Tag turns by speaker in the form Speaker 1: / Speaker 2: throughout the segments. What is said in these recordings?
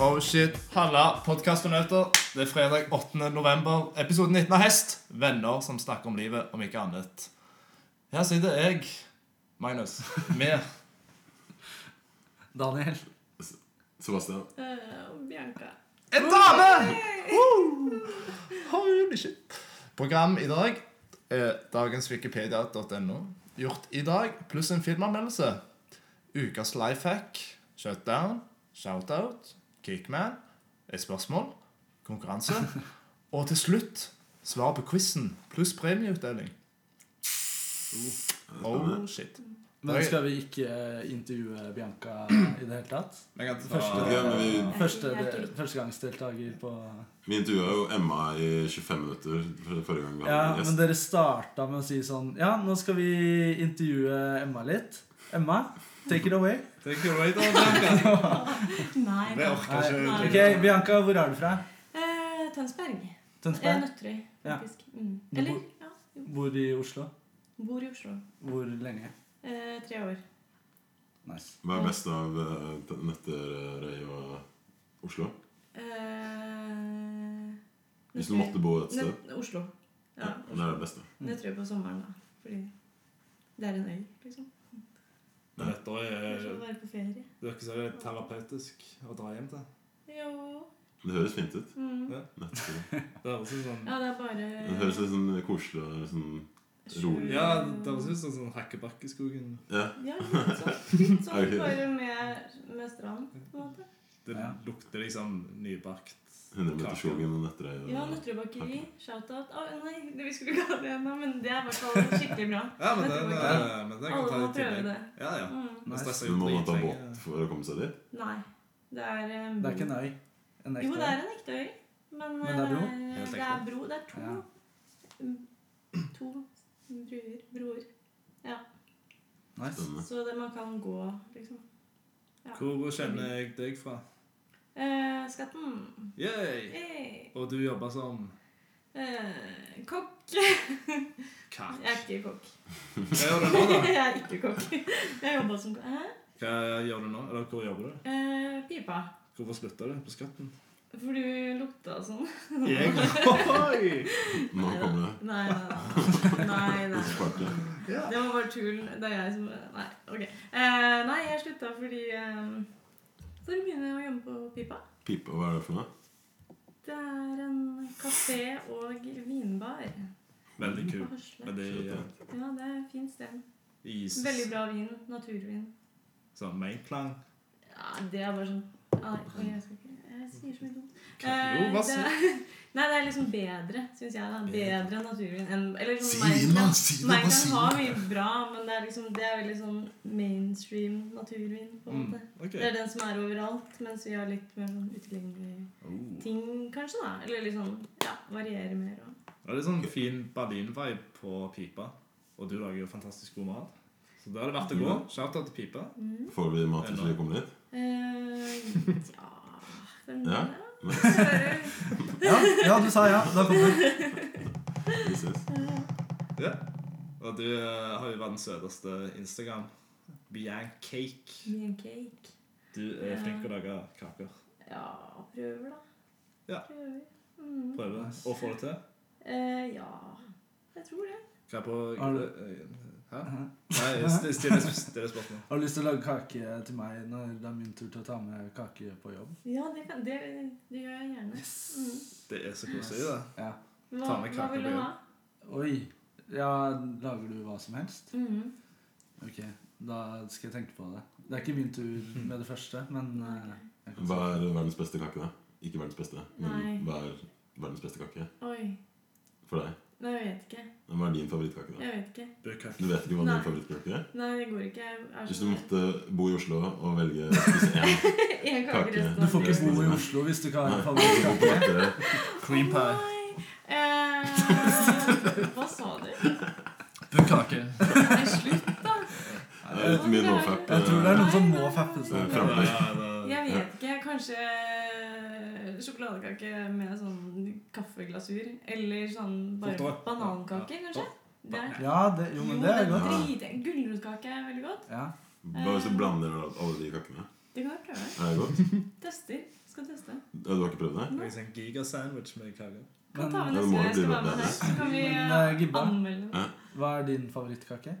Speaker 1: Oh shit, Halla, podkast og nøtter. Det er fredag 8. november. Episode 19 av Hest. Venner som snakker om livet, om ikke annet. Her sitter jeg, Magnus, med
Speaker 2: Daniel.
Speaker 3: Sebastian.
Speaker 4: Eh, og Bianca.
Speaker 1: en dame! Woo! Holy shit. Program i dag er dagens wikipedia.no. Gjort i dag, pluss en filmanmeldelse. Ukas lifehack, shutdown, shoutout, kickman, et spørsmål, konkurranse. Og til slutt svar på quizen pluss premieutdeling. Uh, Oh shit.
Speaker 2: Men
Speaker 1: Oi.
Speaker 2: skal vi ikke eh, intervjue Bianca i det hele tatt?
Speaker 1: Jeg kan ta
Speaker 2: Første,
Speaker 3: Ja, men vi-
Speaker 2: første,
Speaker 4: Helt riktig.
Speaker 2: Førstegangsdeltaker på
Speaker 3: Vi intervjua jo Emma i 25 minutter for- forrige gang. vi hadde
Speaker 2: Ja,
Speaker 3: en
Speaker 2: men
Speaker 3: gjest.
Speaker 2: dere starta med å si sånn Ja, nå skal vi intervjue Emma litt. Emma, take it away.
Speaker 1: Take it away, da, Bianca.
Speaker 4: Nei.
Speaker 1: Det orker
Speaker 2: Nei.
Speaker 1: ikke
Speaker 2: Ok, Bianca, hvor er du fra?
Speaker 4: Eh, Tønsberg. Eh,
Speaker 2: Tønsberg?
Speaker 4: Nøtterøy,
Speaker 2: Ja.
Speaker 4: faktisk. Mm. Eller ja, jo.
Speaker 2: Bor i Oslo?
Speaker 4: bor i Oslo.
Speaker 2: Hvor lenge?
Speaker 4: Eh, tre år.
Speaker 2: Nice.
Speaker 3: Hva er best av uh, Nøtterøy og Oslo?
Speaker 4: Eh,
Speaker 3: Hvis du måtte bo et sted?
Speaker 4: Nøt- Oslo.
Speaker 3: Ja,
Speaker 4: Ja,
Speaker 3: det er det
Speaker 4: Oslo.
Speaker 3: beste.
Speaker 1: Mm.
Speaker 4: Nøtterøy på sommeren, da. Fordi det er en øy, liksom.
Speaker 1: Dette
Speaker 4: Kanskje å være på ferie.
Speaker 1: Det virker som det er terapeutisk å dra hjem til.
Speaker 4: Jo.
Speaker 3: Det høres fint ut.
Speaker 4: Mm.
Speaker 1: Ja.
Speaker 3: Nøtterøy.
Speaker 1: Det høres ut som
Speaker 4: Ja, det er bare
Speaker 3: Det høres litt sånn koselig og litt sånn rolig.
Speaker 1: Ja, det høres ut som sånn Hakkebakkeskogen.
Speaker 3: Ja.
Speaker 4: Ja, litt sånn. Litt sånn
Speaker 3: Ok.
Speaker 4: bare med, med strand, på en måte.
Speaker 1: Det
Speaker 2: Ja.
Speaker 1: lukter liksom nybakt.
Speaker 3: 100 meter skogen og Nøtterøy. og-
Speaker 2: Mm.
Speaker 4: Ja, Nøtterøy bakeri. Shout-out. Å, nei, det vi skulle ikke ha det ennå, men det er i hvert fall skikkelig bra.
Speaker 1: Ja, men den,
Speaker 4: Nøtterøy bakeri.
Speaker 1: eh, men den kan
Speaker 4: Alle
Speaker 1: ta
Speaker 4: må
Speaker 1: litt
Speaker 4: prøve
Speaker 1: tillegg.
Speaker 4: det.
Speaker 1: Ja, ja.
Speaker 4: Mm.
Speaker 1: Det stresser
Speaker 3: Men
Speaker 1: jo
Speaker 3: må man ta
Speaker 1: dritlenge.
Speaker 3: båt for å komme seg dit?
Speaker 4: Nei. Det er um,
Speaker 2: Det er ikke en øy. En ekte
Speaker 4: Jo, det
Speaker 2: øy.
Speaker 4: er en ekte øy, men,
Speaker 2: Men det er bro?
Speaker 4: eh,
Speaker 1: Helt
Speaker 4: det er bro. Det er to
Speaker 2: Ja.
Speaker 4: mm, To bruer. Broer.
Speaker 2: Nice.
Speaker 3: Spennende.
Speaker 4: Så det man kan gå, liksom.
Speaker 1: Hvor kjenner jeg deg fra?
Speaker 4: Eh, skatten
Speaker 1: Yay!
Speaker 4: hey.
Speaker 1: Og du jobber som
Speaker 4: eh, Kokk.
Speaker 1: kakk.
Speaker 4: Jeg er ikke kokk.
Speaker 1: Hva gjør du nå, da?
Speaker 4: Jeg er ikke kokk. Jeg jobba som kokk. Hæ?
Speaker 1: Hva gjør du nå? Eller hvor jobber du?
Speaker 4: Eh, pipa.
Speaker 1: Hvorfor slutta du på skatten?
Speaker 4: For du lukta sånn.
Speaker 1: Jeg Oi!
Speaker 3: eh, Nå kommer det.
Speaker 4: Nei, nei, nei. nei,
Speaker 3: Og så
Speaker 4: nei.
Speaker 3: sparker det.
Speaker 1: Ja.
Speaker 4: Det var bare tull. Det er jeg som Nei, ok. Eh, nei, jeg slutta fordi eh, For å begynne å jobbe på Pipa.
Speaker 3: Pipe, hva er det for noe?
Speaker 4: Det er en kafé og vinbar
Speaker 1: Veldig
Speaker 4: på
Speaker 1: kul.
Speaker 4: Hasle.
Speaker 1: Veldig
Speaker 3: Shit, ja.
Speaker 1: eh,
Speaker 4: Ja, det er et fint sted.
Speaker 1: is.
Speaker 4: Veldig bra vin. Naturvin.
Speaker 1: Sånn mainklang.
Speaker 4: Ja, det er bare sånn Nei, oi, jeg skal ikke Jeg sier så mye dumt. Eh,
Speaker 1: Jo, hva
Speaker 4: det
Speaker 1: sier
Speaker 4: er- Nei, det er liksom bedre, syns jeg. da Bedre naturvin enn Eller
Speaker 3: Si
Speaker 4: sånn
Speaker 3: det inn, da!
Speaker 4: Mainland-
Speaker 3: Si det! Bare
Speaker 4: Mainland
Speaker 3: si
Speaker 4: har
Speaker 3: det!
Speaker 4: mye bra, men det er liksom Det er veldig sånn mainstream naturvin, på en
Speaker 1: Mm,
Speaker 4: måte.
Speaker 1: OK.
Speaker 4: Det er den som er overalt, mens vi har litt mer sånn utilgjengelige
Speaker 1: Oh.
Speaker 4: ting, kanskje. da Eller litt sånn ja, varierer mer. Og.
Speaker 1: Det er litt sånn fin Berlin-vibe på pipa. Og du lager jo fantastisk god mat. Så da er det verdt å gå. Shout-out til pipa.
Speaker 4: Mm.
Speaker 3: Får vi mat hvis vi kommer dit?
Speaker 4: Eh, ja Hvem
Speaker 3: Ja.
Speaker 4: er
Speaker 3: Nice.
Speaker 4: det?
Speaker 2: Ja, ja, du sa ja. Da kommer du.
Speaker 3: Vi ses.
Speaker 1: Ja. Og du eh, har jo verdens søteste Instagram. Biancake.
Speaker 4: Gi en cake.
Speaker 1: Du er
Speaker 4: Ja.
Speaker 1: flink til å lage kaker.
Speaker 4: Ja, prøver, da.
Speaker 1: Ja.
Speaker 4: Prøver. Mm.
Speaker 1: Prøver å få det til.
Speaker 4: Eh, ja Jeg tror det.
Speaker 1: Hva er på
Speaker 2: Har du-
Speaker 1: Hæ?
Speaker 2: Hæ?
Speaker 1: Nei, st- stille stille spørsmål.
Speaker 2: Har du lyst til å lage kake til meg når det er min tur til å ta med kake på jobb?
Speaker 4: Ja, det, kan, det, det gjør jeg gjerne. Mm.
Speaker 1: Det er så koselig, det.
Speaker 2: Ja.
Speaker 4: Hva,
Speaker 1: Ta med
Speaker 4: hva
Speaker 1: kake
Speaker 4: vil
Speaker 1: på
Speaker 4: du
Speaker 1: jobb.
Speaker 4: ha?
Speaker 2: Oi. Ja, lager du hva som helst?
Speaker 4: Mhm.
Speaker 2: Ok, da skal jeg tenke på det. Det er ikke min tur med det første, men eh, jeg kan
Speaker 3: Hva
Speaker 2: si-
Speaker 3: er verdens beste kake, da? Ikke verdens beste,
Speaker 4: Nei.
Speaker 3: men hva er verdens beste kake
Speaker 4: Oi.
Speaker 3: for deg?
Speaker 4: Nei, jeg vet ikke.
Speaker 3: Hva er din favorittkake, da?
Speaker 4: Jeg vet ikke.
Speaker 1: Bøker.
Speaker 3: Du vet ikke hva
Speaker 4: Nei.
Speaker 3: din favorittkake er?
Speaker 4: Nei, det går ikke. Jeg er
Speaker 3: Hvis du
Speaker 4: sånn-
Speaker 3: måtte bo i Oslo og velge å spise én
Speaker 4: En
Speaker 3: Kake.
Speaker 4: kake resten
Speaker 2: Du
Speaker 4: av
Speaker 2: får
Speaker 4: livet.
Speaker 2: ikke bo i Oslo hvis du ikke har en favorittkake.
Speaker 3: kake
Speaker 1: Cream pie.
Speaker 4: Å, nei. Eh, hva sa du?
Speaker 1: Bøkake.
Speaker 4: Nei, slutt, da.
Speaker 2: Nei,
Speaker 3: er litt mye nofap.
Speaker 2: Jeg tror det er noen som må fappes
Speaker 3: eh,
Speaker 2: opp.
Speaker 3: Framlegg.
Speaker 4: Jeg vet ikke. Kanskje sjokoladekake med sånn kaffeglasur. Eller sånn bare
Speaker 1: Godt, da.
Speaker 4: banankake, kanskje. Det er
Speaker 2: Ja, det, jo, men det er godt.
Speaker 4: drit- Gulrotkake er veldig godt.
Speaker 2: Ja.
Speaker 3: Hva hvis du blander alle de kakene?
Speaker 4: Det kan jeg prøve.
Speaker 3: Er det godt?
Speaker 4: Tester. Skal teste.
Speaker 3: Ja, Du har ikke prøvd det?
Speaker 1: Det er liksom en gigasandwich med kake.
Speaker 4: Kan ta med
Speaker 3: Men-
Speaker 4: neste gang
Speaker 3: Ja, det må
Speaker 4: jeg skal
Speaker 3: bli
Speaker 4: være med
Speaker 3: bedre.
Speaker 4: her. Så kan vi
Speaker 2: Men, eh, Gibbe?
Speaker 4: anmelde det.
Speaker 2: Hva er din favorittkake?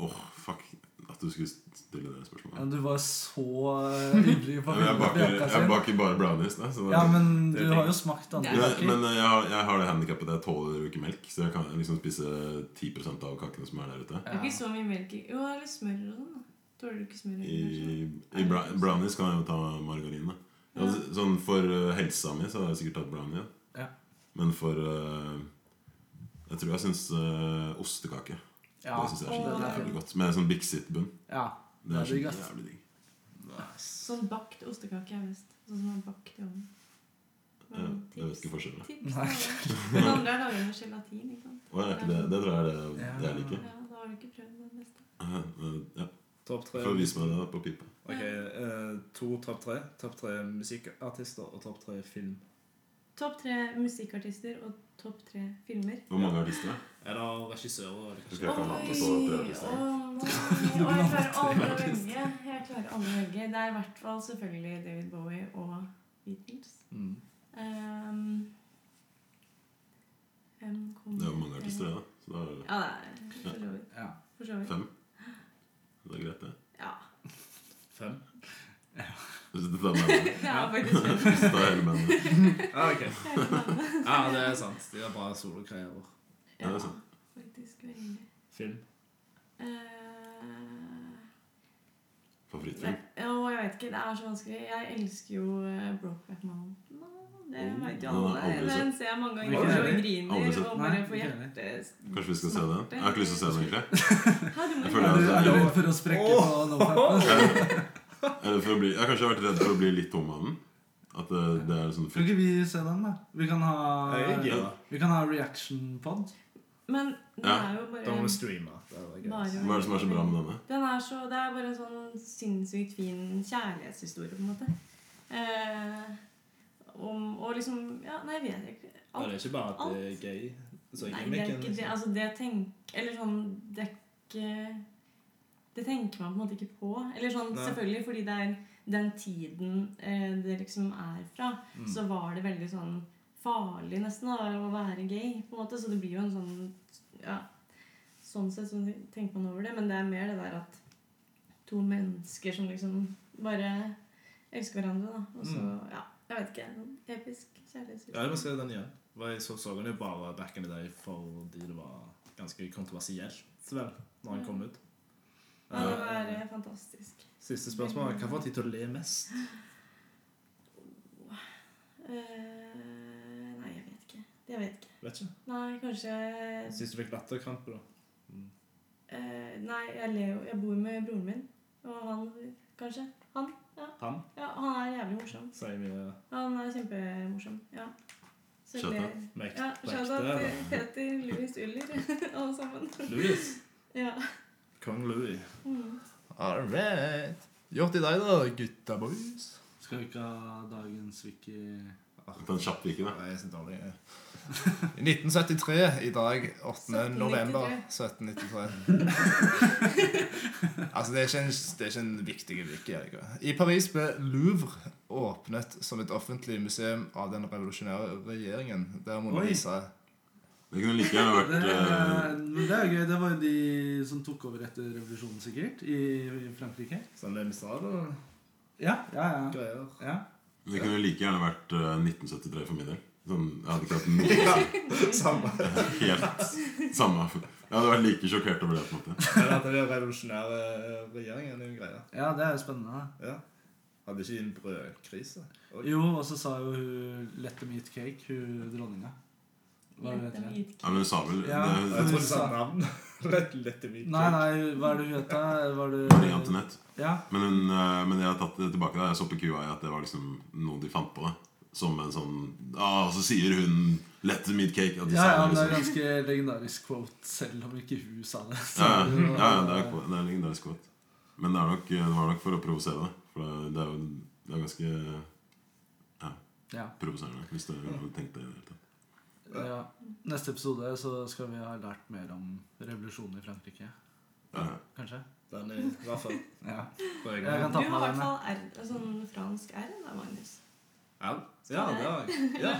Speaker 3: Åh, fuck. At du skulle stille det
Speaker 2: Ja,
Speaker 3: spørsmålet.
Speaker 2: du var så eh, ivrig på
Speaker 3: Ja, men Jeg baker,
Speaker 2: bjørka
Speaker 3: jeg
Speaker 2: sin.
Speaker 3: baker bare brownies. Da, så
Speaker 2: Ja, men
Speaker 1: Det er
Speaker 2: du
Speaker 1: ting.
Speaker 2: har jo smakt andre
Speaker 3: Ja,
Speaker 2: kaker.
Speaker 3: men eh, jeg har, jeg har det handikappet at jeg tåler jo ikke melk, så jeg kan liksom spise 10 av kakene som er der ute.
Speaker 4: Det er ikke så mye melk i. Jo, litt smør og sånn. da. Tåler du ikke smør?
Speaker 3: I,
Speaker 4: kanskje?
Speaker 3: i bra, brownies kan jeg jo ta margarin. Da. Ja, så- sånn for eh, helsa mi så har jeg sikkert tatt brownie. da.
Speaker 2: Ja.
Speaker 3: Men for eh, Jeg tror jeg syns eh, ostekake.
Speaker 2: Ja,
Speaker 3: Det syns jeg er
Speaker 4: Åh,
Speaker 3: så
Speaker 4: det er
Speaker 3: jævlig godt. Med sånn Big Sit-bunn.
Speaker 2: ja.
Speaker 3: Det er så
Speaker 2: Det er digg, ass.
Speaker 3: jævlig digg.
Speaker 4: Sånn bakt ostekake er best. Sånn som er bakt i ovnen.
Speaker 3: Ja, jeg vet ikke
Speaker 4: Tips.
Speaker 3: forskjellen.
Speaker 4: Tips,
Speaker 2: Nei.
Speaker 4: da. Den andre er laget med gelatin. ikke sant?
Speaker 3: Å, er ikke det, det tror jeg er det, det jeg
Speaker 4: Ja,
Speaker 3: liker.
Speaker 4: Da har du ikke prøvd den beste.
Speaker 3: Eh, eh, Ja,
Speaker 1: Topp tre
Speaker 3: Får vise meg det da på pipa.
Speaker 1: Ok, eh, To topp tre. Topp tre musikkartister og topp tre film.
Speaker 4: Topp tre musikkartister og topp tre filmer.
Speaker 3: Hvor mange artister?
Speaker 1: Er det regissører? og det
Speaker 3: Jeg
Speaker 4: Oi!
Speaker 1: kanskje-
Speaker 4: Å
Speaker 3: kan ha
Speaker 4: nei!
Speaker 3: det på prøvelista.
Speaker 4: Å, jeg klarer alle å velge. Jeg klarer alle å velge. Det er i hvert fall selvfølgelig David Bowie og Beatles.
Speaker 5: Mm.
Speaker 4: Ehm, hvem kom
Speaker 3: Det er jo mange artister, det. da Så da er det
Speaker 4: Ja, det er for så vidt.
Speaker 2: ja.
Speaker 4: For så vidt.
Speaker 3: fem. Det er greit, det.
Speaker 4: Ja,
Speaker 1: Fem?
Speaker 3: Hvis du tar med
Speaker 4: det er faktisk fem.
Speaker 3: Hvis du tar hele bandet.
Speaker 1: Ah, ok. Ja, det er sant. De har bra solokreier.
Speaker 3: Ja, det er sant.
Speaker 4: faktisk veldig.
Speaker 1: Film.
Speaker 4: Eh,
Speaker 3: Favorittfilm.
Speaker 4: nei, å, jeg vet ikke. Det er så vanskelig. Jeg elsker jo eh, Brokeback Mountain. Å, Det
Speaker 1: Mm.
Speaker 4: vet jo
Speaker 3: Ja,
Speaker 4: alle.
Speaker 3: aldri sett.
Speaker 4: Den ser jeg mange
Speaker 2: Aldri
Speaker 4: ganger og
Speaker 2: sett.
Speaker 3: Aldri
Speaker 4: griner
Speaker 3: sett.
Speaker 4: og
Speaker 2: Nei,
Speaker 4: bare får
Speaker 2: ikke
Speaker 4: hjertet
Speaker 3: Kanskje vi skal se den? Jeg har ikke lyst til å se den, egentlig.
Speaker 4: Hæ, du må
Speaker 3: Jeg
Speaker 4: ikke-
Speaker 3: føler
Speaker 2: Er du,
Speaker 3: det
Speaker 2: er du
Speaker 3: er
Speaker 2: redd for å sprekke på nofapen?
Speaker 3: Eller for å bli, jeg har kanskje vært redd for å bli litt tom av den. At det, det er sånn
Speaker 2: Skal ikke vi se den, da? Vi kan
Speaker 1: Ah, Jeg
Speaker 2: ha,
Speaker 1: gir meg.
Speaker 2: vi kan ha reaction-pod.
Speaker 4: Men den
Speaker 3: Ja.
Speaker 4: er jo
Speaker 1: Da må
Speaker 4: bare
Speaker 1: vi streame. Det hadde vært gøy.
Speaker 4: Bare-
Speaker 3: Hva er det som er så bra med denne?
Speaker 4: Den er så, Det er bare en sånn sinnssykt fin kjærlighetshistorie, på en måte. Eh, om, og liksom Ja, nei, jeg vet ikke.
Speaker 1: Ja, det
Speaker 4: Alt,
Speaker 1: er ikke bare at det er gøy. Så
Speaker 4: nei, det er
Speaker 1: gimmicken,
Speaker 4: ikke det.
Speaker 1: liksom.
Speaker 4: Altså, det tenk... Eller sånn Det er ikke Det tenker man på en måte ikke på. Eller sånn,
Speaker 1: Nei.
Speaker 4: selvfølgelig fordi det er den tiden eh, det liksom er fra, så var det veldig sånn farlig nesten da, å være gay, på en måte. Så det blir jo en sånn Ja. Sånn sett så tenker man over det, men det er mer det der at to mennesker som liksom bare elsker hverandre, da. Og så, ja, jeg vet ikke. Sånn episk
Speaker 1: Ja, jeg må
Speaker 4: kjærlighetshistorie.
Speaker 1: se den igjen. For Jeg så, så den jo bare back in the day fordi det var ganske kontroversielt, vel, når den kom ut.
Speaker 4: Ja, det var eh, fantastisk.
Speaker 1: Siste spørsmål. Hva får tid til å le mest?
Speaker 4: Eh, nei, jeg vet ikke. Jeg vet ikke.
Speaker 1: Vet ikke.
Speaker 4: Nei, kanskje
Speaker 1: Syns du fikk latterkrampe, da?
Speaker 4: eh, Nei, jeg, ler jo- jeg bor med broren min, og han kanskje. Han. Ja,
Speaker 1: Han
Speaker 4: ja han er jævlig morsom.
Speaker 1: sier eh, mye
Speaker 4: Han er kjempemorsom. Ja. Så jeg
Speaker 3: Shout out.
Speaker 4: ler.
Speaker 1: mekt.
Speaker 4: Ja, shout out til Peter, Louis Uller, alle sammen.
Speaker 1: Louis.
Speaker 4: Ja.
Speaker 1: Kong Louis.
Speaker 4: Mm.
Speaker 5: All right. Gjort i dag, da, gutta boys.
Speaker 2: Skal vi ikke ha dagens wiki
Speaker 3: Ta en kjapp vike, da.
Speaker 5: Nei, jeg er så dårlig. jeg. 1973, i dag 8.
Speaker 4: 1793.
Speaker 5: november 1793. altså, det er ikke en, det er ikke en viktig uke. Erika. I Paris ble Louvre åpnet som et offentlig museum av den revolusjonære regjeringen. Der Mona
Speaker 2: Oi.
Speaker 5: Lisa
Speaker 3: Det kunne like gjerne
Speaker 2: det,
Speaker 3: vært eh,
Speaker 2: men det er gøy. Det var jo de som tok over etter revolusjonen, sikkert, i, i Frankrike.
Speaker 1: Sånn det vi sa, da.
Speaker 2: Ja, ja, ja.
Speaker 1: Greier.
Speaker 2: ja.
Speaker 3: Det kunne like gjerne vært eh, 1973 for min del. Sånn, jeg hadde ikke hatt noe
Speaker 5: Samme.
Speaker 3: helt samme. Jeg hadde vært like sjokkert over det. på en måte
Speaker 1: Men at det er revolusjonære regjeringen er jo en greie.
Speaker 2: ja det er jo spennende. da.
Speaker 1: Ja. Hadde ikke de en brødkrise? Og-
Speaker 2: Jo, og så sa jo hun 'let them eat cake', hun dronninga. Hva
Speaker 4: Let
Speaker 2: vet
Speaker 4: them
Speaker 2: jeg?
Speaker 4: eat
Speaker 3: Ja, men Samuel
Speaker 2: Ja.
Speaker 3: det,
Speaker 1: Jeg trodde du sa navn. Lett, lett i min
Speaker 2: Nei, nei, hva er det hun het, da? Var
Speaker 3: Marie
Speaker 2: det
Speaker 3: Antoinette.
Speaker 2: Ja.
Speaker 3: Men, hun, eh, men jeg har tatt det tilbake. da Jeg så på QI at det var liksom noe de fant på. da. Som en sånn ah, Så sier hun 'Let them eat cake'. At de
Speaker 2: Ja, ja,
Speaker 3: sa
Speaker 2: men det
Speaker 3: det,
Speaker 2: er
Speaker 3: liksom.
Speaker 2: ganske legendarisk quote, selv om ikke hun sa det. så
Speaker 3: ja,
Speaker 2: er det jo-
Speaker 3: ja, ja, det er, kvo- det er en legendarisk quote. Men det, er nok, det var nok for å provosere det. For det, det er jo det er ganske ja,
Speaker 2: Ja.
Speaker 3: provoserende. Hvis du hadde tenkt det i det hele tatt.
Speaker 2: ja. Neste episode så skal vi ha lært mer om revolusjonen i Frankrike.
Speaker 3: Ja.
Speaker 2: Kanskje?
Speaker 1: Den er eh, i hvert fall
Speaker 2: Ja.
Speaker 1: på egen
Speaker 2: Jeg kan
Speaker 1: hånd.
Speaker 4: Du
Speaker 2: ta
Speaker 4: har i
Speaker 2: på meg
Speaker 4: hvert
Speaker 2: den. jeg.
Speaker 4: fall R, sånn fransk R da, Magnus. sånn,
Speaker 1: Ja, ja, det var ja.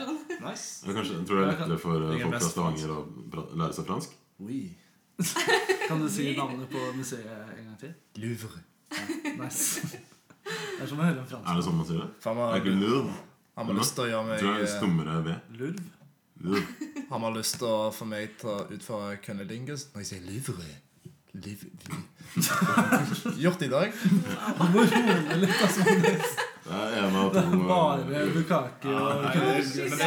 Speaker 1: Nice.
Speaker 3: Ja, Kanskje, jeg tror det er lettere for eh,
Speaker 1: Jeg er
Speaker 3: folk fra
Speaker 1: best fransk.
Speaker 3: Stavanger å pra- lære seg fransk.
Speaker 1: Oui.
Speaker 2: Kan du si navnet på museet en gang til?
Speaker 5: Louvre.
Speaker 2: Nice. Det er som å høre en
Speaker 3: Er
Speaker 2: fransk.
Speaker 3: det sånn man sier det?
Speaker 5: Faen,
Speaker 3: Er det
Speaker 5: man-
Speaker 3: ikke lurv?
Speaker 5: han har lyst til å gjøre
Speaker 3: Jeg tror det
Speaker 5: meg
Speaker 3: er
Speaker 5: eh,
Speaker 3: stummere V.
Speaker 2: Lurv?
Speaker 3: Lurv.
Speaker 5: Han har lyst til å få meg til å utføre kønnelingus når jeg sier Louvre. Louvre. Gjort i dag.
Speaker 2: Du må roe deg litt. Altså.
Speaker 3: Det er en av
Speaker 2: Det
Speaker 3: to
Speaker 2: er bare
Speaker 3: eh,
Speaker 2: bukake og
Speaker 1: Nei,
Speaker 4: det-
Speaker 1: men jeg- men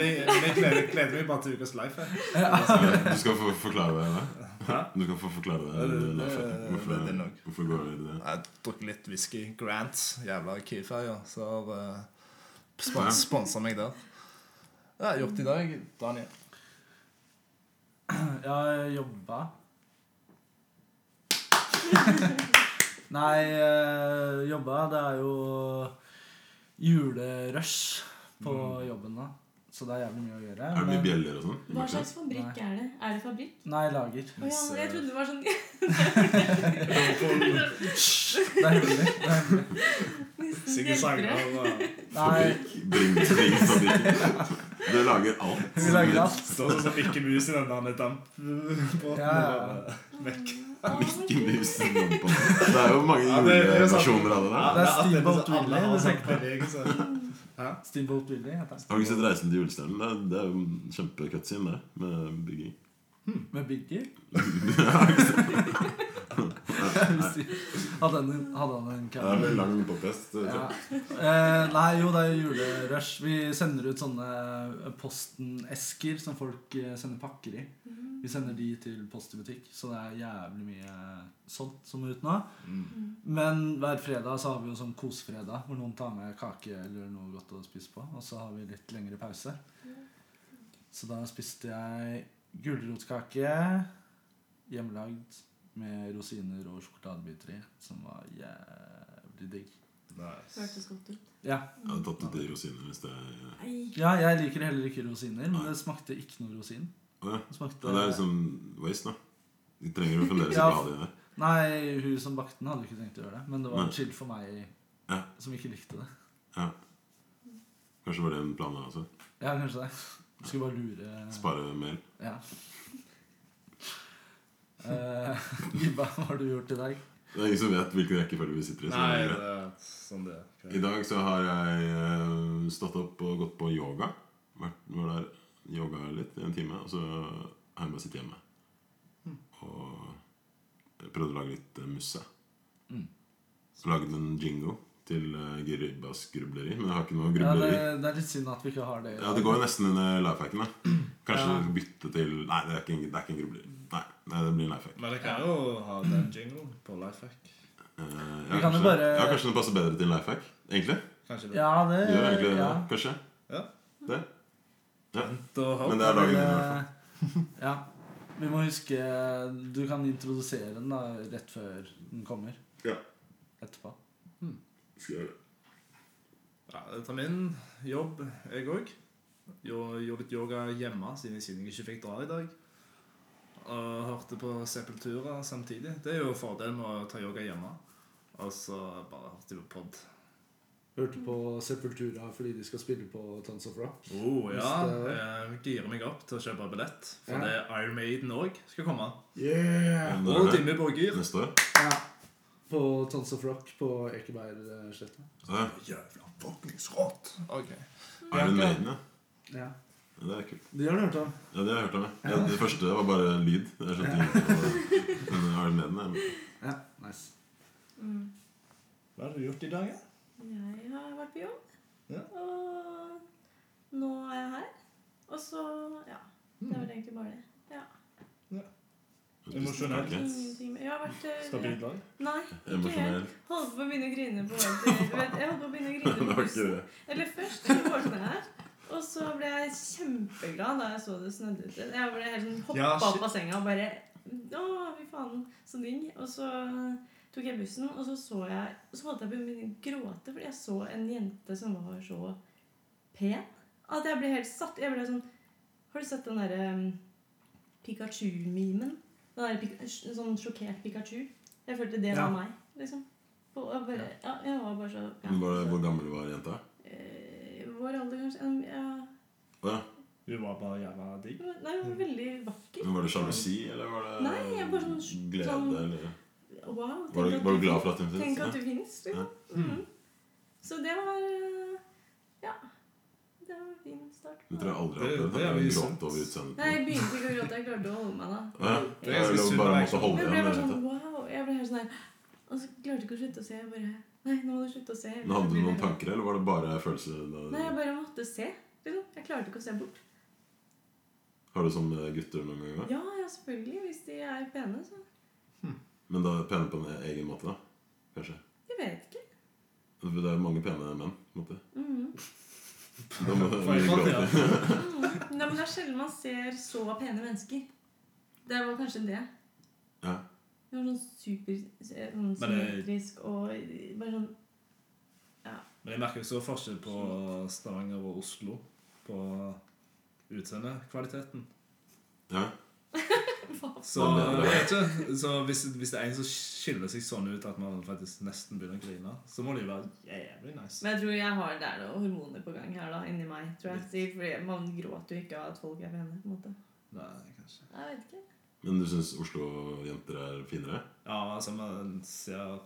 Speaker 1: jeg- men jeg gleder- gleder meg bare til ukas life. jeg.
Speaker 3: ja, Du skal få forklare det. eller?
Speaker 1: Hæ?
Speaker 3: Du skal få forklare det.
Speaker 1: Det-
Speaker 3: det,
Speaker 1: det-
Speaker 3: det, hvorfor,
Speaker 5: det- det er nok.
Speaker 3: hvorfor går det i det?
Speaker 5: Jeg har drukket litt whisky. Grants, jævla Kiwi-ferja. Så har uh, spons sponsa meg der. Ja, gjort i dag. Daniel.
Speaker 2: Jeg jobba Nei, eh, jobba Det er jo julerush på jobben da. Så det er jævlig mye å gjøre.
Speaker 3: Mm. Er det mye
Speaker 2: men-
Speaker 3: bjeller og sånn?
Speaker 4: Hva slags fabrikk er det? Er det fabrikk?
Speaker 2: Nei, lager.
Speaker 4: Å ja, jeg trodde det var sånn
Speaker 2: Det er hyggelig. Det er hyggelig.
Speaker 1: Sigurd Sagnar og
Speaker 2: Nei,
Speaker 3: Fabrikk. Bring, bring fabrikken. Du lager alt.
Speaker 2: vi lager alt.
Speaker 1: står sånn som Mikke Mus i den der dampbåten.
Speaker 2: Ja, ja.
Speaker 1: og bare Vekk.
Speaker 3: Mikke Mus i lampa. Det er jo mange
Speaker 1: Ja, det- det er sant.
Speaker 3: juleversjoner av det der.
Speaker 1: Ja, det er at det er
Speaker 2: Steamboat
Speaker 1: sånn alle
Speaker 2: Willie,
Speaker 1: har
Speaker 2: du
Speaker 1: sånn
Speaker 2: tenker på.
Speaker 1: bevegelse.
Speaker 2: Steamboat Willie heter den.
Speaker 3: Har du ikke sett Reisen til julestjernen? Det er, det er jo en kjempecutscene der, med bygging.
Speaker 2: Med Big Deal. Hadde han en- hadde han en
Speaker 3: Det er
Speaker 2: kamera?
Speaker 3: vel lang podcast. så-
Speaker 2: Ja. Eh, nei, jo, det er jo julerush. Vi sender ut sånne eh, Posten-esker som folk eh, sender pakker i. Vi sender de til post i butikk, så det er jævlig mye eh, sånt som er ute nå.
Speaker 1: Mm,
Speaker 2: Men hver fredag så har vi jo sånn kosefredag, hvor noen tar med kake eller noe godt å spise på. Og så har vi litt lengre pause. Så da spiste jeg gulrotkake hjemmelagd med rosiner og sjokoladebiter i, som var jævlig digg.
Speaker 1: Nice.
Speaker 4: Hørtes godt ut.
Speaker 2: Ja.
Speaker 3: Jeg hadde tatt ut de rosiner hvis det er
Speaker 4: Nei.
Speaker 2: ja, jeg liker heller ikke rosiner, men det smakte ikke noe rosin.
Speaker 3: Å ja.
Speaker 2: Det
Speaker 3: Ja,
Speaker 2: smakte...
Speaker 3: det er liksom waste, da. De trenger jo fremdeles
Speaker 2: Ja.
Speaker 3: ikke ha de der.
Speaker 2: Nei, hun som bakte den, hadde ikke tenkt å gjøre det, men det var
Speaker 3: Nei.
Speaker 2: chill for meg
Speaker 3: Ja.
Speaker 2: som ikke likte det.
Speaker 3: Ja. Kanskje var det en plan der også?
Speaker 2: Ja, kanskje det. Jeg skulle bare lure
Speaker 3: Spare mel.
Speaker 2: Ja. Eh, Gibba, hva har du gjort i dag?
Speaker 3: Det er ingen som vet hvilken rekkefølge vi sitter i. Så
Speaker 1: Nei,
Speaker 3: det er
Speaker 1: det
Speaker 3: greit.
Speaker 1: er sånn det
Speaker 3: I
Speaker 1: er.
Speaker 3: dag så har jeg eh, stått opp og gått på yoga. Vært var der, yoga litt i en time, og så har jeg bare sittet hjemme. Og prøvde å lage litt eh, musse.
Speaker 2: Mm.
Speaker 3: Så lagde jeg en jingo til uh, Giribas grubleri, men jeg har ikke noe
Speaker 2: Ja, det,
Speaker 3: grubleri.
Speaker 2: det er litt synd at vi ikke har det. i
Speaker 3: Ja,
Speaker 2: dag.
Speaker 3: Det går jo nesten under lifehacken. da Kanskje
Speaker 2: Ja.
Speaker 3: bytte til Nei, det er ikke en, det er ikke en grubler. Nei, nei, det blir en lifehack.
Speaker 1: Men dere kan jo ha den jinglen på Lifehack.
Speaker 3: Eh,
Speaker 2: Vi
Speaker 3: ja,
Speaker 2: kan jo
Speaker 3: kanskje,
Speaker 2: bare-
Speaker 3: ja, kanskje det passer bedre til en lifehack? Egentlig?
Speaker 1: Kanskje det.
Speaker 2: Ja, det
Speaker 3: Det Gjør egentlig
Speaker 2: Eh, ja.
Speaker 3: det, kanskje?
Speaker 1: Ja.
Speaker 3: Det. Ja.
Speaker 1: Da har
Speaker 3: Men det er dagen din, i hvert fall.
Speaker 2: Men, eh, ja. Vi må huske Du kan introdusere den da rett før den kommer.
Speaker 3: Ja.
Speaker 2: Etterpå.
Speaker 3: Skal jeg gjøre det.
Speaker 1: Ja, jeg tar min jobb, jeg òg. Gjorde litt yoga hjemme siden jeg, siden jeg ikke fikk dra i dag. Og hørte på Sepultura samtidig. Det er jo fordelen med å ta yoga hjemme. Og så bare hørte jeg på pod.
Speaker 2: Hørte på Sepultura fordi de skal spille på Tons of Rock.
Speaker 1: Oh, ja.
Speaker 2: Hvis det-
Speaker 1: Jeg girer meg opp til å kjøpe billett, for
Speaker 2: Ja.
Speaker 1: det er Iron Maiden òg skal komme.
Speaker 2: Yeah!
Speaker 3: Men
Speaker 1: Og
Speaker 3: det er
Speaker 1: Dimmy Borgir.
Speaker 3: det. Neste år?
Speaker 2: Ja. På Tons of Rock på Ekebergsletta.
Speaker 3: Ja.
Speaker 5: Jævla fuckings rått. Ok.
Speaker 3: Iron Maiden, ja.
Speaker 2: Ja.
Speaker 3: ja. Det er kult.
Speaker 2: De har du hørt om?
Speaker 3: Ja, det har jeg hørt om. Ja, det første var bare lyd. Jeg skjønte ingenting. av det. Men Iron Maiden er
Speaker 2: Ja, nice.
Speaker 4: Mm.
Speaker 1: Hva har du gjort i dag, da?
Speaker 4: Jeg har vært på jobb,
Speaker 1: Ja.
Speaker 4: og nå er jeg her. Og så Ja. Det var egentlig bare det.
Speaker 3: jeg spiste
Speaker 1: Emosjonelt.
Speaker 3: kake.
Speaker 4: Ingenting mer. Jeg har vært eh,
Speaker 1: Stabil dag?
Speaker 4: Nei, ikke helt.
Speaker 3: Emosjonell.
Speaker 4: Holdt på å begynne å grine på vei til du vet, Jeg holdt på å begynne å grine
Speaker 3: Det
Speaker 4: på
Speaker 3: var ikke
Speaker 4: bussen.
Speaker 3: det.
Speaker 4: Eller først så våkna jeg her. Og så ble jeg kjempeglad da jeg så det snødde ute. Jeg ble helt sånn hoppa
Speaker 1: Ja, shit.
Speaker 4: opp av senga og bare Å, fy faen, så digg. Og så tok jeg bussen, og så så jeg og Så holdt jeg på å begynne å gråte fordi jeg så en jente som var så pen at jeg ble helt satt Jeg ble sånn Har du sett den derre um, Pikachu-memen? Den der, Pik- en sånn sjokkert Pikachu? Jeg følte det
Speaker 2: Ja.
Speaker 4: var meg, liksom. Og jeg, bare, ja, jeg var bare så ja,
Speaker 3: Men var det,
Speaker 4: så-
Speaker 3: hvor gammel var jenta?
Speaker 4: Eh, Vår alder, kanskje. Um, Ja.
Speaker 3: Å ja.
Speaker 1: Hun var bare jævla digg.
Speaker 4: Nei, hun
Speaker 3: Mm.
Speaker 4: var veldig vakker.
Speaker 3: Men var det sjalusi, eller var det
Speaker 4: Nei, jeg var sånn-
Speaker 3: glede?
Speaker 4: sånn-
Speaker 3: eller?
Speaker 4: Wow.
Speaker 3: Mm. Var, du,
Speaker 4: tenk at
Speaker 3: var du glad for at hun
Speaker 4: Tenk at
Speaker 3: syntes
Speaker 4: du
Speaker 3: det?
Speaker 4: finnes, liksom. Mhm. Så det var eh, Ja. Det var en fin start.
Speaker 3: Det tror jeg aldri
Speaker 1: Det-
Speaker 3: jeg har opplevd.
Speaker 1: det er
Speaker 3: Jeg har
Speaker 1: jo
Speaker 3: grått
Speaker 1: sunt.
Speaker 3: over utseendet.
Speaker 4: Nei,
Speaker 3: på
Speaker 4: jeg begynte ikke å gråte. Jeg klarte å holde meg da.
Speaker 3: Ja,
Speaker 1: Det er
Speaker 3: jeg
Speaker 1: ganske
Speaker 3: lå
Speaker 1: sunt
Speaker 3: bare
Speaker 1: å
Speaker 3: og måtte
Speaker 1: være
Speaker 4: Men
Speaker 3: holde
Speaker 4: jeg ble bare
Speaker 3: igjen. jeg vet
Speaker 4: sånn
Speaker 3: det.
Speaker 4: wow. Jeg ble helt sånn her Og så klarte jeg ikke å slutte å se. Jeg bare Nei, nå må du slutte å se.
Speaker 3: Men Hadde du noen tanker, eller var det bare følelser? da-
Speaker 4: sånn- Nei, jeg bare måtte se. Liksom. Jeg klarte ikke å se bort.
Speaker 3: Har du sånn med gutter noen ganger?
Speaker 4: Ja, ja, selvfølgelig. Hvis de er pene, så
Speaker 3: Men da pene på en egen måte, da? Kanskje?
Speaker 4: Jeg vet ikke.
Speaker 3: For Det er mange pene menn. på en måte.
Speaker 4: Mhm.
Speaker 3: Da må
Speaker 1: For
Speaker 3: du
Speaker 1: en måte,
Speaker 3: gråte.
Speaker 1: ja.
Speaker 4: Mhm. Nei, men det er sjelden man ser så pene mennesker. Det var kanskje det.
Speaker 3: Ja.
Speaker 4: Det var sånn super sånn
Speaker 1: Men det-
Speaker 4: symmetrisk og bare sånn
Speaker 1: Men jeg merker jo så forskjell på Stavanger og Oslo på utseendekvaliteten.
Speaker 3: ja.
Speaker 1: Så, jeg vet ikke, så hvis, hvis det er en som skiller seg sånn ut at man faktisk nesten begynner å grine, så må det jo være jævlig nice.
Speaker 4: Men jeg tror jeg har det er noen hormoner på gang her da, inni meg. tror jeg. Sikkert Fordi Man gråter jo ikke av at folk er pene. på en måte.
Speaker 1: Nei, kanskje.
Speaker 4: Jeg vet ikke.
Speaker 3: Men du syns Oslo-jenter er finere?
Speaker 1: Ja, altså, man ser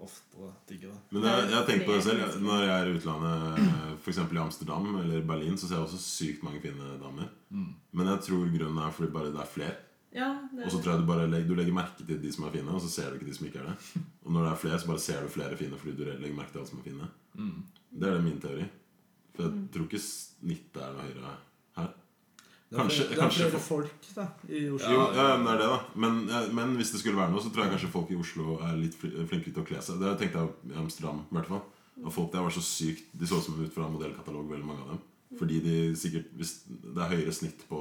Speaker 1: oftere diggere.
Speaker 3: Men jeg, jeg har tenkt på det selv. jeg- Når jeg er i utlandet, f.eks. i Amsterdam eller Berlin, så ser jeg også sykt mange fine damer.
Speaker 1: Mm.
Speaker 3: Men jeg tror grunnen er fordi bare det er flere.
Speaker 4: Ja, det,
Speaker 3: Og så tror jeg du bare legger, du legger merke til de som er fine, og så ser du ikke de som ikke er det. Og når det er flere, så bare ser du flere fine fordi du legger merke til alle som er fine. Det er det min teori. For jeg tror ikke snittet er noe høyere her.
Speaker 2: det
Speaker 3: Kanskje-
Speaker 2: er flere
Speaker 3: kanskje-
Speaker 2: folk da, i Oslo.
Speaker 3: Jo, ja, men det er det, da. Men, eh, men hvis det skulle være noe, så tror jeg kanskje folk i Oslo er litt fli- flinkere til å kle seg. Det tenkte jeg i Amsterdam, i hvert fall. Og folk der var så sykt De så som ut fra en modellkatalog, veldig mange av dem. Fordi de sikkert Hvis det er høyere snitt på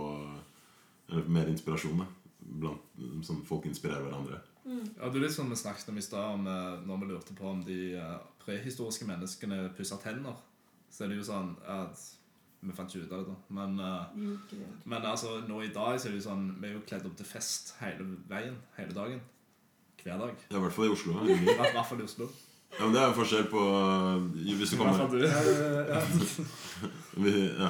Speaker 3: Eller mer inspirasjon, da. Blant, som folk inspirerer hverandre.
Speaker 1: Ja, det er litt sånn vi snakket om i stad, om, eh, når vi lurte på om de eh, prehistoriske menneskene pusser tenner. Så er det jo sånn at Vi fant ikke ut av det, da. Men, eh,
Speaker 4: de gjorde ikke det.
Speaker 1: men altså, nå i dag så er det jo sånn Vi er jo kledd opp til fest hele veien. Hele dagen. Hver dag.
Speaker 3: Ja, I hvert fall i Oslo. Ja,
Speaker 1: I hvert fall i Oslo.
Speaker 3: Ja, men Det er en forskjell på eh, Hvis, du
Speaker 1: I hvert
Speaker 3: kommer,
Speaker 1: fall du.
Speaker 2: Ja, ja, ja.
Speaker 3: ja.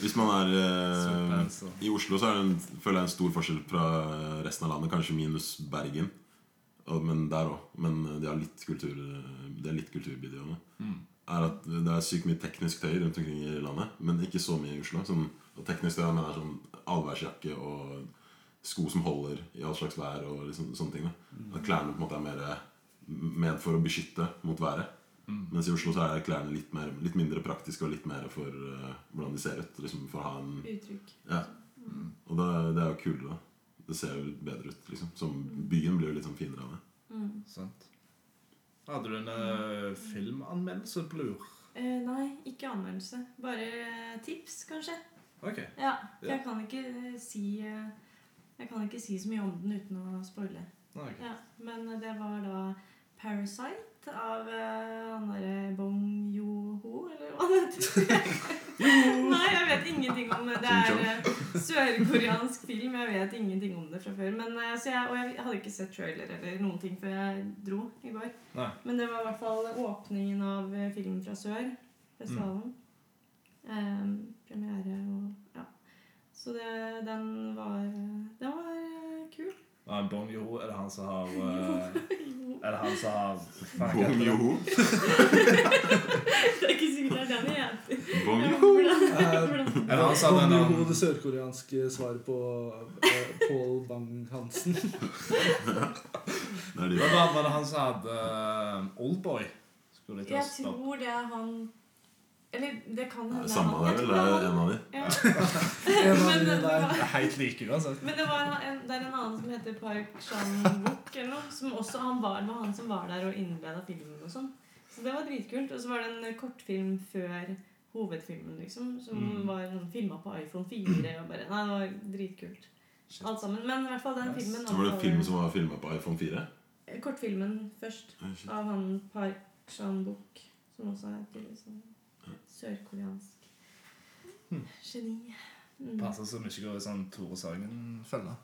Speaker 3: hvis man er eh,
Speaker 1: Sweatpants og-
Speaker 3: I Oslo så er det en, føler jeg en stor forskjell fra resten av landet, kanskje minus Bergen. Og- Men der òg. Men eh, de har litt kultur eh, Det er litt kulturbidragende. Er at det er sykt mye teknisk tøy rundt omkring i landet, men ikke så mye i Oslo. Sånn, og teknisk tøy jeg mener er sånn allværsjakke og sko som holder i all slags vær og liksom, sånne ting. Da. At klærne på en måte er mer eh, ment for å beskytte mot været.
Speaker 1: Mm.
Speaker 3: Mens i Oslo så er klærne litt, mer, litt mindre praktiske og litt mer for eh, hvordan de ser ut. Liksom for å ha en
Speaker 4: Uttrykk.
Speaker 3: ja.
Speaker 1: Mm,
Speaker 3: Og det, det er jo kulere, da. Det ser jo litt bedre ut. liksom Som Byen blir jo litt sånn finere av det.
Speaker 4: Mm.
Speaker 1: Sant. Hadde du en eh, filmanmeldelse på lur?
Speaker 4: Eh, nei, ikke anmeldelse. Bare eh, tips, kanskje.
Speaker 1: Ok.
Speaker 4: Ja, for
Speaker 1: Ja.
Speaker 4: jeg kan ikke eh, si eh, Jeg kan ikke si så mye om den uten å spoile.
Speaker 1: Nei, ok.
Speaker 4: Ja, men det var da Parasite av eh, han derre Bong Yo-ho, eller hva han heter. Nei, jeg vet ingenting om det. Det er eh, sørkoreansk film. Jeg vet ingenting om det fra før. Men, eh, så jeg, og jeg hadde ikke sett trailer eller noen ting før jeg dro i går.
Speaker 1: Nei.
Speaker 4: Men det var i hvert fall åpningen av eh, Film fra sør, festivalen. Ehm, premiere og ja. Så det, den var Den var eh, kul.
Speaker 1: Ja, Bong Joho, er det han som har eh, Er det han som har Fuck, jeg
Speaker 3: Bong
Speaker 1: heter det.
Speaker 3: Joho.
Speaker 4: Det er ikke sikkert det er den jeg heter.
Speaker 3: Bong
Speaker 4: Ja,
Speaker 3: Joho.
Speaker 4: hvordan- hvordan-
Speaker 1: Er det han som hadde en
Speaker 2: Bong Joon-ho,
Speaker 1: annen
Speaker 2: det sørkoreanske svaret på eh, Paul Bang-Hansen.
Speaker 3: Det er de.
Speaker 1: Hva var- var det han som hadde eh, Oldboy? Skulle litt
Speaker 4: Jeg
Speaker 1: oss da.
Speaker 4: tror det er han Eller det kan hende det er
Speaker 3: Samme
Speaker 4: han.
Speaker 3: der,
Speaker 4: Jeg tror
Speaker 3: eller er det
Speaker 4: han.
Speaker 3: en av de?
Speaker 4: Ja.
Speaker 2: En av
Speaker 4: Men
Speaker 2: de
Speaker 4: det
Speaker 2: der.
Speaker 1: Det
Speaker 4: var-
Speaker 1: er Helt like uansett.
Speaker 4: Men det, var en, det er en annen som heter Park Chan-wook eller noe. Som også han var, det var han som var der og innleda filmen og sånn. Så det var dritkult. Og så var det en eh, kortfilm før hovedfilmen, liksom. Som
Speaker 1: Mm.
Speaker 4: var sånn filma på iPhone 4 og bare Nei, det var dritkult. Alt sammen. Men i hvert fall den
Speaker 1: Nice.
Speaker 4: filmen
Speaker 3: Så var det en
Speaker 4: anbefaler-
Speaker 3: film som var filma på iPhone 4?
Speaker 4: eh, kortfilmen først,
Speaker 3: Eh, shit.
Speaker 4: av han Park Chan-wook, som også er et sånn sørkoreansk
Speaker 2: Hmm.
Speaker 4: geni. Mm.
Speaker 1: Passer som ikke går i sånn Tore Sagen-felle.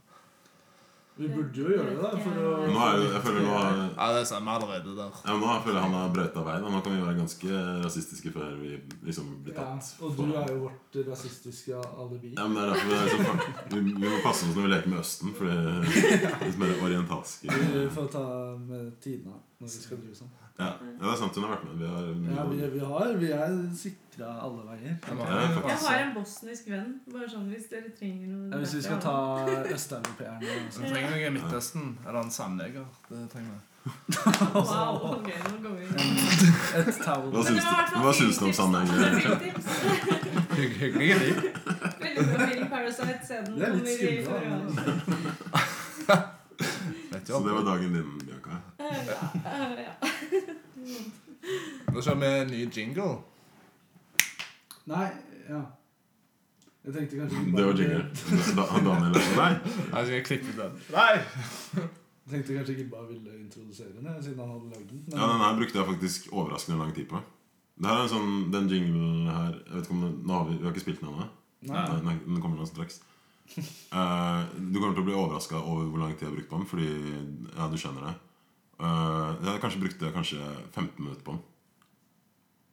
Speaker 2: Vi burde jo gjøre det, da. For å,
Speaker 3: Nå er jo, jeg føler nå er,
Speaker 5: Ja, det er vi allerede der.
Speaker 3: ja, nå føler jeg han har brøyta veien. og Nå kan vi være ganske rasistiske før vi liksom blir
Speaker 2: ja,
Speaker 3: tatt.
Speaker 2: Og du er jo vårt rasistiske alibi.
Speaker 3: Ja, men det er derfor vi, er så fuck- vi, vi må passe oss når vi leker med Østen, for det er litt mer orientalsk. Ja,
Speaker 2: Vi får ta med Tina når vi skal drive sånn.
Speaker 3: ja, det er sant hun har vært med. Vi har
Speaker 2: Ja, vi, vi, har, vi er sikra alle veier.
Speaker 3: Ja,
Speaker 4: Jeg har en bosnisk venn, bare sånn hvis dere trenger noe.
Speaker 2: Ja, hvis vi skal ta østeuropeerne sånn.
Speaker 5: Så vi trenger noe i Midtøsten. Eller en sandleger. Det trenger vi.
Speaker 4: Wow, ok, nå går vi. Men
Speaker 2: Et towel.
Speaker 3: Hva
Speaker 4: det
Speaker 3: syns
Speaker 4: var i hvert
Speaker 3: du,
Speaker 4: fall
Speaker 3: hva syns du om
Speaker 4: filmtips, da.
Speaker 3: sammenhengen?
Speaker 4: Det er filmtips.
Speaker 5: Hygg- Hyggelige liv.
Speaker 4: Veldig bra film, Parasite. Se den.
Speaker 2: Det er litt
Speaker 4: kommer i
Speaker 2: skummelt, da,
Speaker 4: februar.
Speaker 2: men-
Speaker 5: Vet
Speaker 3: Så
Speaker 5: jo.
Speaker 3: det var dagen din, Bianca.
Speaker 4: Eh, ja, eh, ja.
Speaker 5: Nå kjører vi en ny jingle.
Speaker 2: Nei, ja. Jeg tenkte kanskje vi
Speaker 3: Det var jingle. Da, Daniel er sånn Nei,
Speaker 5: Nei, skal jeg klippe ut den? Nei!
Speaker 2: Jeg tenkte kanskje ikke bare ville introdusere den, jeg, siden han hadde lagd den. Men
Speaker 3: ja, den her brukte jeg faktisk overraskende lang tid på. Det her er en sånn, Den jinglen her jeg vet ikke om den, nå har vi, vi har ikke spilt den ennå.
Speaker 2: nei,
Speaker 3: Nei, nei, Den kommer nå straks. Eh, du kommer til å bli overraska over hvor lang tid jeg har brukt på den. Fordi ja, du skjønner det. Eh, jeg har kanskje brukte kanskje 15 minutter på den.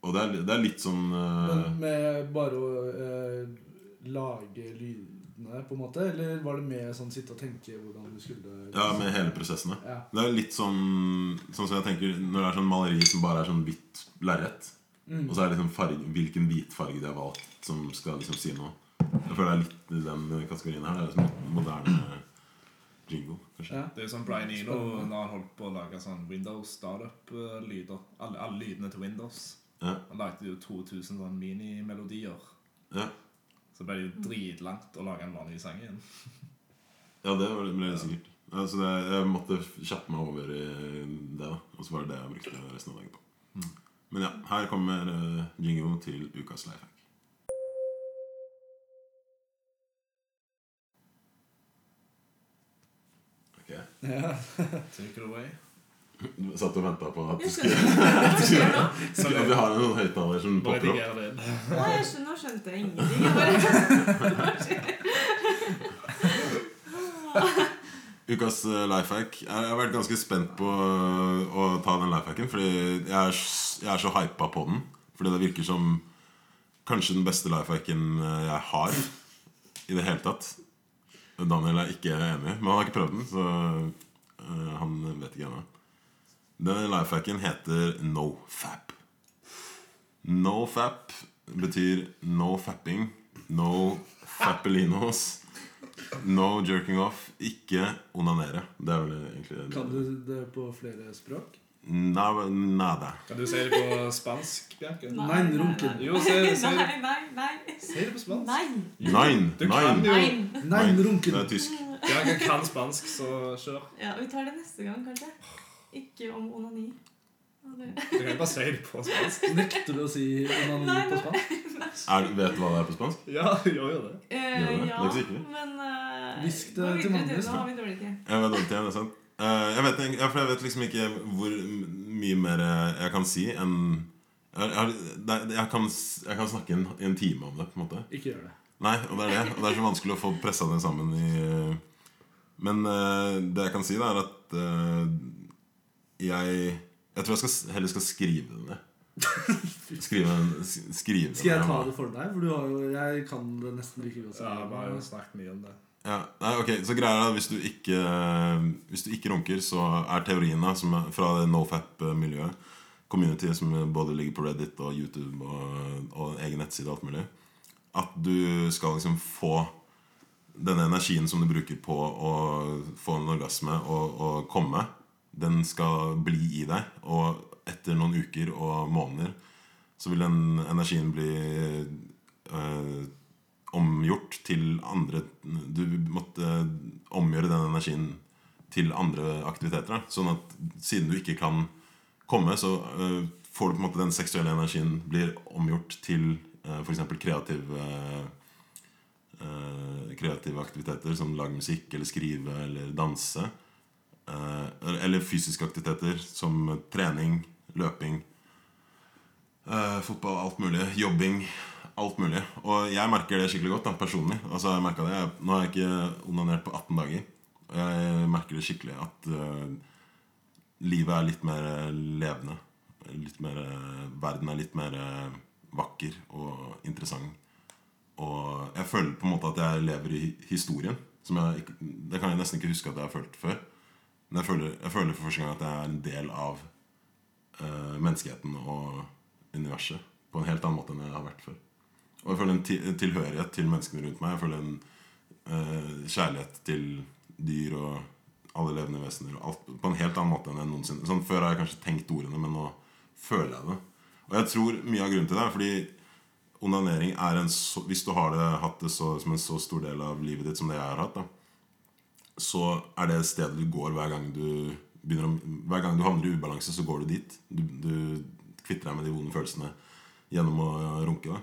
Speaker 3: Og det er, det er litt sånn eh,
Speaker 2: men med bare å eh, lage lydene, på en måte? Eller var det mer sånn sitte og tenke hvordan du skulle
Speaker 3: Ja, med hele prosessene.
Speaker 2: Ja.
Speaker 3: Det er litt sånn Sånn som jeg tenker når det er sånn maleri som bare er sånn hvitt lerret.
Speaker 2: Mm.
Speaker 3: Og så er det liksom farge, hvilken hvitfarge de har valgt, som skal liksom si noe. Jeg føler det er litt i den kategorien her. Det er liksom moderne jingle, kanskje.
Speaker 2: Ja.
Speaker 1: Det er jo sånn Brian Eno når han holdt på å lage sånn Windows startup-lyder. Alle, alle lydene til Windows.
Speaker 3: Ja.
Speaker 1: Han lagde jo 2000 sånn minimelodier.
Speaker 3: Ja.
Speaker 1: Så ble det jo dritlangt å lage en vanlig sang igjen.
Speaker 3: Ja, det var- ble det sikkert. Ja, så det, jeg måtte kjappe meg over i det, da. Og så var det det jeg brukte resten av dagen på. Mm. Men ja, her kommer uh, jingo til ukas lifehack. Ok.
Speaker 2: Ja.
Speaker 1: Take it away.
Speaker 3: Satt og venta på at,
Speaker 4: Jeg skjønner. Hva skjer nå?
Speaker 3: at vi har en høyttaler som
Speaker 1: Nå
Speaker 3: popper opp.
Speaker 1: redigerer det inn.
Speaker 4: Nei, jeg skjønner, nå skjønte jeg ingenting. Jeg bare- Hva skjer?
Speaker 3: Ukas eh, lifehack. Jeg jeg har vært ganske spent på eh, å ta den lifehacken. Fordi jeg er, s- jeg er så hypa på den. Fordi det virker som kanskje den beste lifehacken eh, jeg har i det hele tatt. Daniel er ikke enig, men han har ikke prøvd den, så eh, han vet ikke ennå. Den lifehacken heter nofap. Nofap betyr no fapping, no fappelinos. No jerking off. Ikke onanere. Det er vel egentlig det.
Speaker 2: Kan du det på flere språk?
Speaker 3: Nav- Nada.
Speaker 1: Kan du si det på spansk, Bjerke?
Speaker 4: Nei,
Speaker 2: Nein,
Speaker 4: nei,
Speaker 2: runken.
Speaker 4: nei.
Speaker 1: Jo, si- si-
Speaker 4: Nei, nei, nei.
Speaker 1: Si det på spansk.
Speaker 4: Nei.
Speaker 3: Nein!
Speaker 1: Du kan
Speaker 3: nein.
Speaker 1: jo
Speaker 4: Nei.
Speaker 2: Nein,
Speaker 3: Det
Speaker 2: runken.
Speaker 3: er tysk.
Speaker 1: Bjerke kan spansk, så kjør.
Speaker 4: Ja, vi tar det neste gang, kanskje. Ikke om onani. Ja, det-
Speaker 1: Du kan jo bare si det på spansk.
Speaker 2: Nekter du å si onani
Speaker 4: Nei,
Speaker 2: på
Speaker 4: nei.
Speaker 2: spansk?
Speaker 3: Er, vet du hva det er på spansk?
Speaker 1: Ja, gjør jo det.
Speaker 4: Eh,
Speaker 3: det.
Speaker 4: ja,
Speaker 3: Det er ikke sikkert.
Speaker 4: men eh,
Speaker 2: Hvisk det
Speaker 4: gå
Speaker 2: til
Speaker 4: videre
Speaker 2: Magnus,
Speaker 4: Nå
Speaker 2: da.
Speaker 4: har vi dårlig tid.
Speaker 3: Jeg vet, ikke, er det sant? Eh, jeg, vet, ikke- ja, for jeg vet liksom ikke hvor m- mye mer eh, jeg kan si enn jeg, jeg, det er- jeg, kan, s- jeg kan snakke en, en time om det, på en måte.
Speaker 2: Ikke gjør det.
Speaker 3: Nei, og det er det. Og det er så vanskelig å få pressa det sammen i Men eh, det jeg kan si, da, er at eh, jeg Jeg tror jeg skal, s- heller skal skrive det ned. Skrive, en- s- skrive
Speaker 2: Skal jeg ta
Speaker 3: ned.
Speaker 2: det for deg? For du har jo, jeg kan det nesten like godt
Speaker 1: Ja, vi har jo
Speaker 2: som
Speaker 1: snakket mye om det.
Speaker 3: Ja, nei, ok, Så greia er at hvis du ikke Hvis du ikke runker, så er teorien da, som er fra det nofap-miljøet Community som både ligger på Reddit og YouTube og, og en egen nettside og alt mulig At du skal liksom få denne energien som du bruker på å få en orgasme og, og komme, den skal bli i deg. Og etter noen uker og måneder så vil den energien bli eh, omgjort til andre Du måtte omgjøre den energien til andre aktiviteter. Da. Sånn at siden du ikke kan komme, så eh, får du på en måte den seksuelle energien blir omgjort til uh, f.eks. kreative eh, kreative aktiviteter som lage musikk eller skrive eller danse. Eh, eh, Eller fysiske aktiviteter som trening, løping, eh, fotball, alt mulig. Jobbing. Alt mulig. Og jeg merker det skikkelig godt da, personlig. Altså, jeg merket det. Jeg- Nå har jeg ikke onanert på 18 dager. Og jeg merker det skikkelig at eh, livet er litt mer eh, levende. Litt mer, eh, verden er litt mer eh, vakker og interessant. Og jeg føler på en måte at jeg lever i historien. Som jeg, ikke- det kan jeg nesten ikke huske at jeg har følt før. Men jeg føler, jeg føler for første gang at jeg er en del av eh, menneskeheten og universet på en helt annen måte enn jeg har vært før. Og jeg føler en ti- tilhørighet til menneskene rundt meg. Jeg føler en eh, kjærlighet til dyr og alle levende vesener. Og alt, på en helt annen måte enn jeg noensinne sånn, Før har jeg kanskje tenkt ordene, men nå føler jeg det. Og jeg tror mye av grunnen til det er fordi onanering er en så, Hvis du har det, hatt det så, som en så stor del av livet ditt som det jeg har hatt, da, så er det stedet du går hver gang du begynner å, Hver gang du havner i ubalanse, så går du dit. Du, du kvitter deg med de vonde følelsene gjennom å runke. da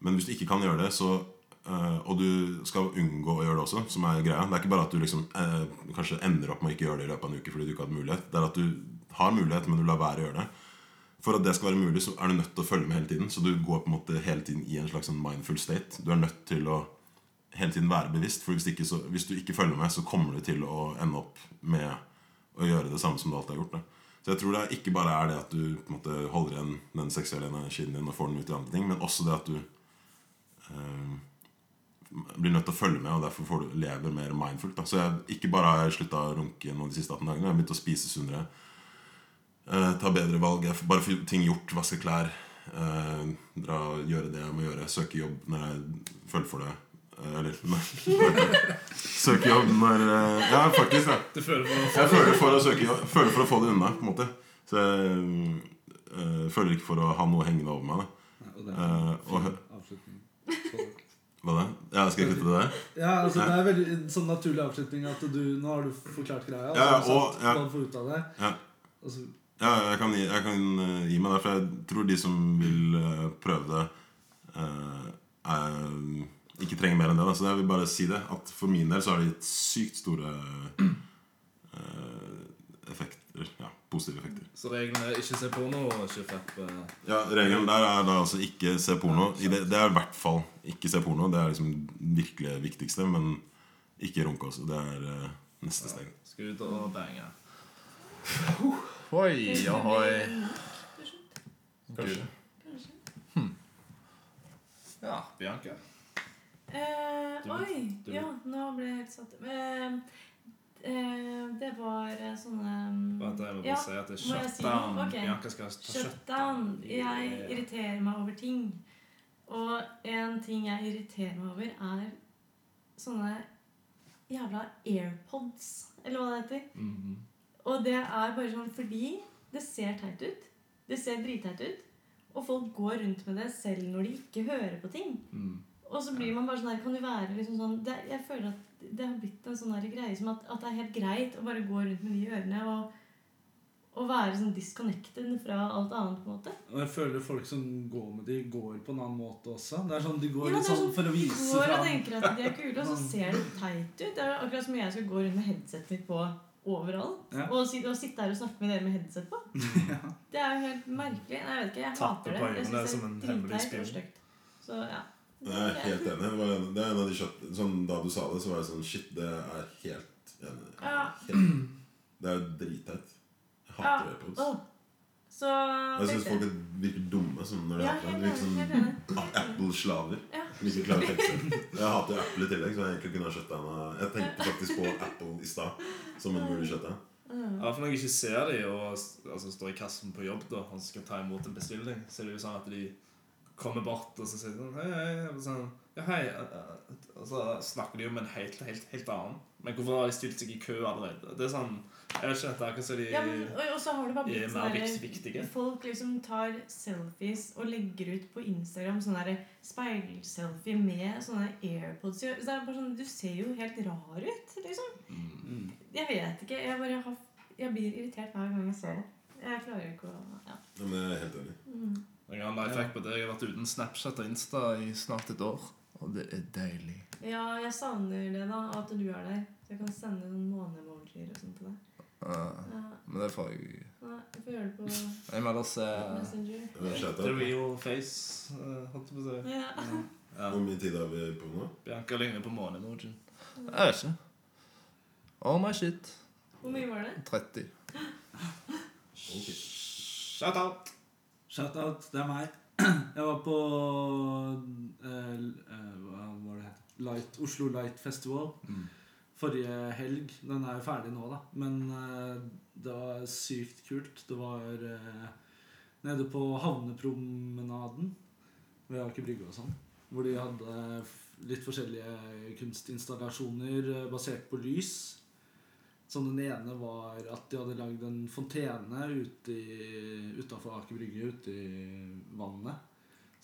Speaker 3: men hvis du ikke kan gjøre det, så, eh, og du skal unngå å gjøre det også, som er greia Det er ikke bare at du liksom, eh, kanskje ender opp med å ikke gjøre det i løpet av en uke fordi du ikke hadde mulighet. Det er at du har mulighet, men du lar være å gjøre det. For at det skal være mulig, så er du nødt til å følge med hele tiden. Så du går på en måte hele tiden i en slags sånn mindful state. Du er nødt til å hele tiden være bevisst, for hvis, ikke, så, hvis du ikke følger med, så kommer du til å ende opp med å gjøre det samme som du alltid har gjort. Da. Så jeg tror det er ikke bare er det at du på en måte holder igjen den seksuelle energien din og får den ut i andre ting, men også det at du eh, Ehm, blir nødt til å følge med, og derfor får du, lever mer mindfullt. Da. Så jeg, ikke bare har jeg slutta å runke nå de siste 18 dagene, jeg har begynt å spise sunnere. Eh, ta bedre valg, jeg får bare få ting gjort, vaske klær. eh, dra, gjøre det jeg må gjøre, søke jobb når jeg føler for det. Eh, eller nei. Søke jobb når eh, Ja, faktisk, da.
Speaker 1: Du føler for å
Speaker 3: Jeg føler for å, søke, jeg føler for å få det unna, på en måte. Så jeg eh, føler ikke for å ha noe hengende over meg. Da.
Speaker 2: Og det
Speaker 3: Eh, og, hø-
Speaker 2: avslutning.
Speaker 3: hva da? Ja, skal jeg kutte det der?
Speaker 2: Ja, altså Det er veldig en sånn naturlig avslutning at du Nå har du forklart greia.
Speaker 3: Ja, ja,
Speaker 2: og så har du sagt
Speaker 3: og- ja.
Speaker 2: hva du får ut av det.
Speaker 3: Ja.
Speaker 2: Og så
Speaker 3: Ja, jeg kan, gi- jeg kan eh, gi meg der, for jeg tror de som vil eh, prøve det, eh, er, ikke trenger mer enn det. Da. Så jeg vil bare si det, at for min del så har det gitt sykt store eh, effekter. Ja, positive effekter.
Speaker 1: Så regelen er ikke se porno og ikke eh, rappe.
Speaker 3: Ja, Regelen der er da altså ikke se porno. I det, det er i hvert fall ikke se porno. Det er liksom virkelig det viktigste. Men ikke runke også. Det er eh, neste steg.
Speaker 1: Skal ut og bange.
Speaker 5: Oi, ohoi.
Speaker 1: Kanskje.
Speaker 4: Kanskje.
Speaker 1: Ja, Bianca.
Speaker 4: Eh,
Speaker 1: Du-
Speaker 4: oi!
Speaker 1: du-
Speaker 4: Ja, nå ble jeg helt satt eh, eh, Det var eh, sånne
Speaker 1: Bare at jeg må bare
Speaker 4: Ja,
Speaker 1: si at det er
Speaker 4: må jeg si
Speaker 1: shutdown.
Speaker 4: noe? Ok.
Speaker 1: Bianca skal ta
Speaker 4: Shutdown. Jeg
Speaker 1: Yeah.
Speaker 4: irriterer meg over ting. Og en ting jeg irriterer meg over, er sånne jævla airpods, eller hva det heter.
Speaker 1: Mhm.
Speaker 4: Og det er bare sånn fordi det ser teit ut. Det ser dritteit ut. Og folk går rundt med det selv når de ikke hører på ting.
Speaker 1: Mm.
Speaker 4: Og så blir man bare sånn her Kan du være liksom sånn det, Jeg føler at det har blitt en sånn her greie som at, at det er helt greit å bare gå rundt med de ørene og, og være sånn disconnected fra alt annet, på en måte.
Speaker 2: Og jeg føler folk som går med de, går på en annen måte også. Det er sånn De går
Speaker 4: Ja, det
Speaker 2: litt
Speaker 4: er
Speaker 2: sånn
Speaker 4: sånn,
Speaker 2: for å
Speaker 4: De
Speaker 2: vise
Speaker 4: går og
Speaker 2: fram.
Speaker 4: tenker at de er kule, og så ser det teit ut. Det er akkurat som jeg skal gå rundt med headsetet mitt på overalt.
Speaker 2: Ja.
Speaker 4: Og, si- og sitte her og snakke med dere med headset på. Det er jo helt merkelig. Nei, jeg vet ikke, jeg
Speaker 1: Tappe
Speaker 4: hater det.
Speaker 1: på øynene,
Speaker 4: Jeg
Speaker 1: det er
Speaker 4: synes
Speaker 1: som en
Speaker 4: det er
Speaker 1: hemmelig
Speaker 4: dritteit og
Speaker 1: spion.
Speaker 4: stygt. Så ja.
Speaker 3: Jeg er helt enig. Det var en, det er en av de kjøtt, sånn, da du sa det, så var jeg sånn Shit, det er helt enig.
Speaker 4: Ja.
Speaker 3: Helt, det er jo dritteit. Jeg
Speaker 4: ja.
Speaker 3: hater AirPods.
Speaker 4: Åh. Så
Speaker 3: Jeg syns folk er- virker dumme som når de
Speaker 4: Ja, helt
Speaker 3: hater det. De virker
Speaker 1: liksom.
Speaker 4: enig, helt
Speaker 3: som
Speaker 4: enig.
Speaker 3: Apple-slaver.
Speaker 4: Ja.
Speaker 3: Som ikke klarer å tenke selv. Jeg hater jo Apple i tillegg, så jeg egentlig kunne ha shutdowna Jeg tenkte faktisk på Apple i stad som en mulig shutdown.
Speaker 1: Ja, for når jeg ikke ser de og altså, står i kassen på jobb da, og skal ta imot en bestilling, så er det jo sånn at de kommer bort og så sier de sånn Hei, hei. Og sånn, ja, hei. eh, eh», Og så snakker de jo med en helt, helt, helt annen. Men hvorfor har de stilt seg i kø allerede? Det er sånn Jeg vet ikke. Det er akkurat som de
Speaker 4: Ja, men, og, og så har det
Speaker 1: er
Speaker 4: bare blitt
Speaker 1: mer
Speaker 4: sånn
Speaker 1: vikt-
Speaker 4: der-
Speaker 1: viktige.
Speaker 4: Folk liksom tar selfies og legger ut på Instagram sånn der speilselfie med sånne airpods. i. Så det er bare sånn, Du ser jo helt rar ut, liksom. Jeg vet ikke. Jeg bare har, jeg blir irritert hver gang jeg ser det. Jeg klarer ikke å ja.
Speaker 3: Ja, men jeg er helt enig.
Speaker 1: Jeg har en life hack på det. Jeg har vært uten Snapchat og Insta i snart et år. Og det er deilig.
Speaker 4: ja, jeg savner det, da. At du er der. Så jeg kan sende noen måne-emoji papir og sånt til deg.
Speaker 1: Eh,
Speaker 4: Ja,
Speaker 1: men det får jeg
Speaker 4: nei, du får gjøre det på
Speaker 1: Jeg må ellers eh,
Speaker 4: Messenger.
Speaker 3: Det er
Speaker 5: The
Speaker 3: Shoutout.
Speaker 5: real face, eh, holdt jeg på å si.
Speaker 4: Ja.
Speaker 5: Ja.
Speaker 3: Hvor mye tid har vi på nå?
Speaker 5: Bianca ligner på måne-emojien.
Speaker 1: Jeg vet ikke. Oh my shit.
Speaker 4: Hvor mye var det?
Speaker 1: 30.
Speaker 5: Shout-out!
Speaker 2: Shout-out, det er meg. Jeg var på eh, l- eh, Hva var det het? Light, Oslo Light Festival forrige helg. Den er jo ferdig nå, da. Men eh, det var sykt kult. Det var eh, nede på havnepromenaden ved Aker Brygge og sånn. Hvor de hadde f- litt forskjellige kunstinstallasjoner eh, basert på lys. Så den ene var at de hadde lagd en fontene utafor Aker Brygge, ute i vannet.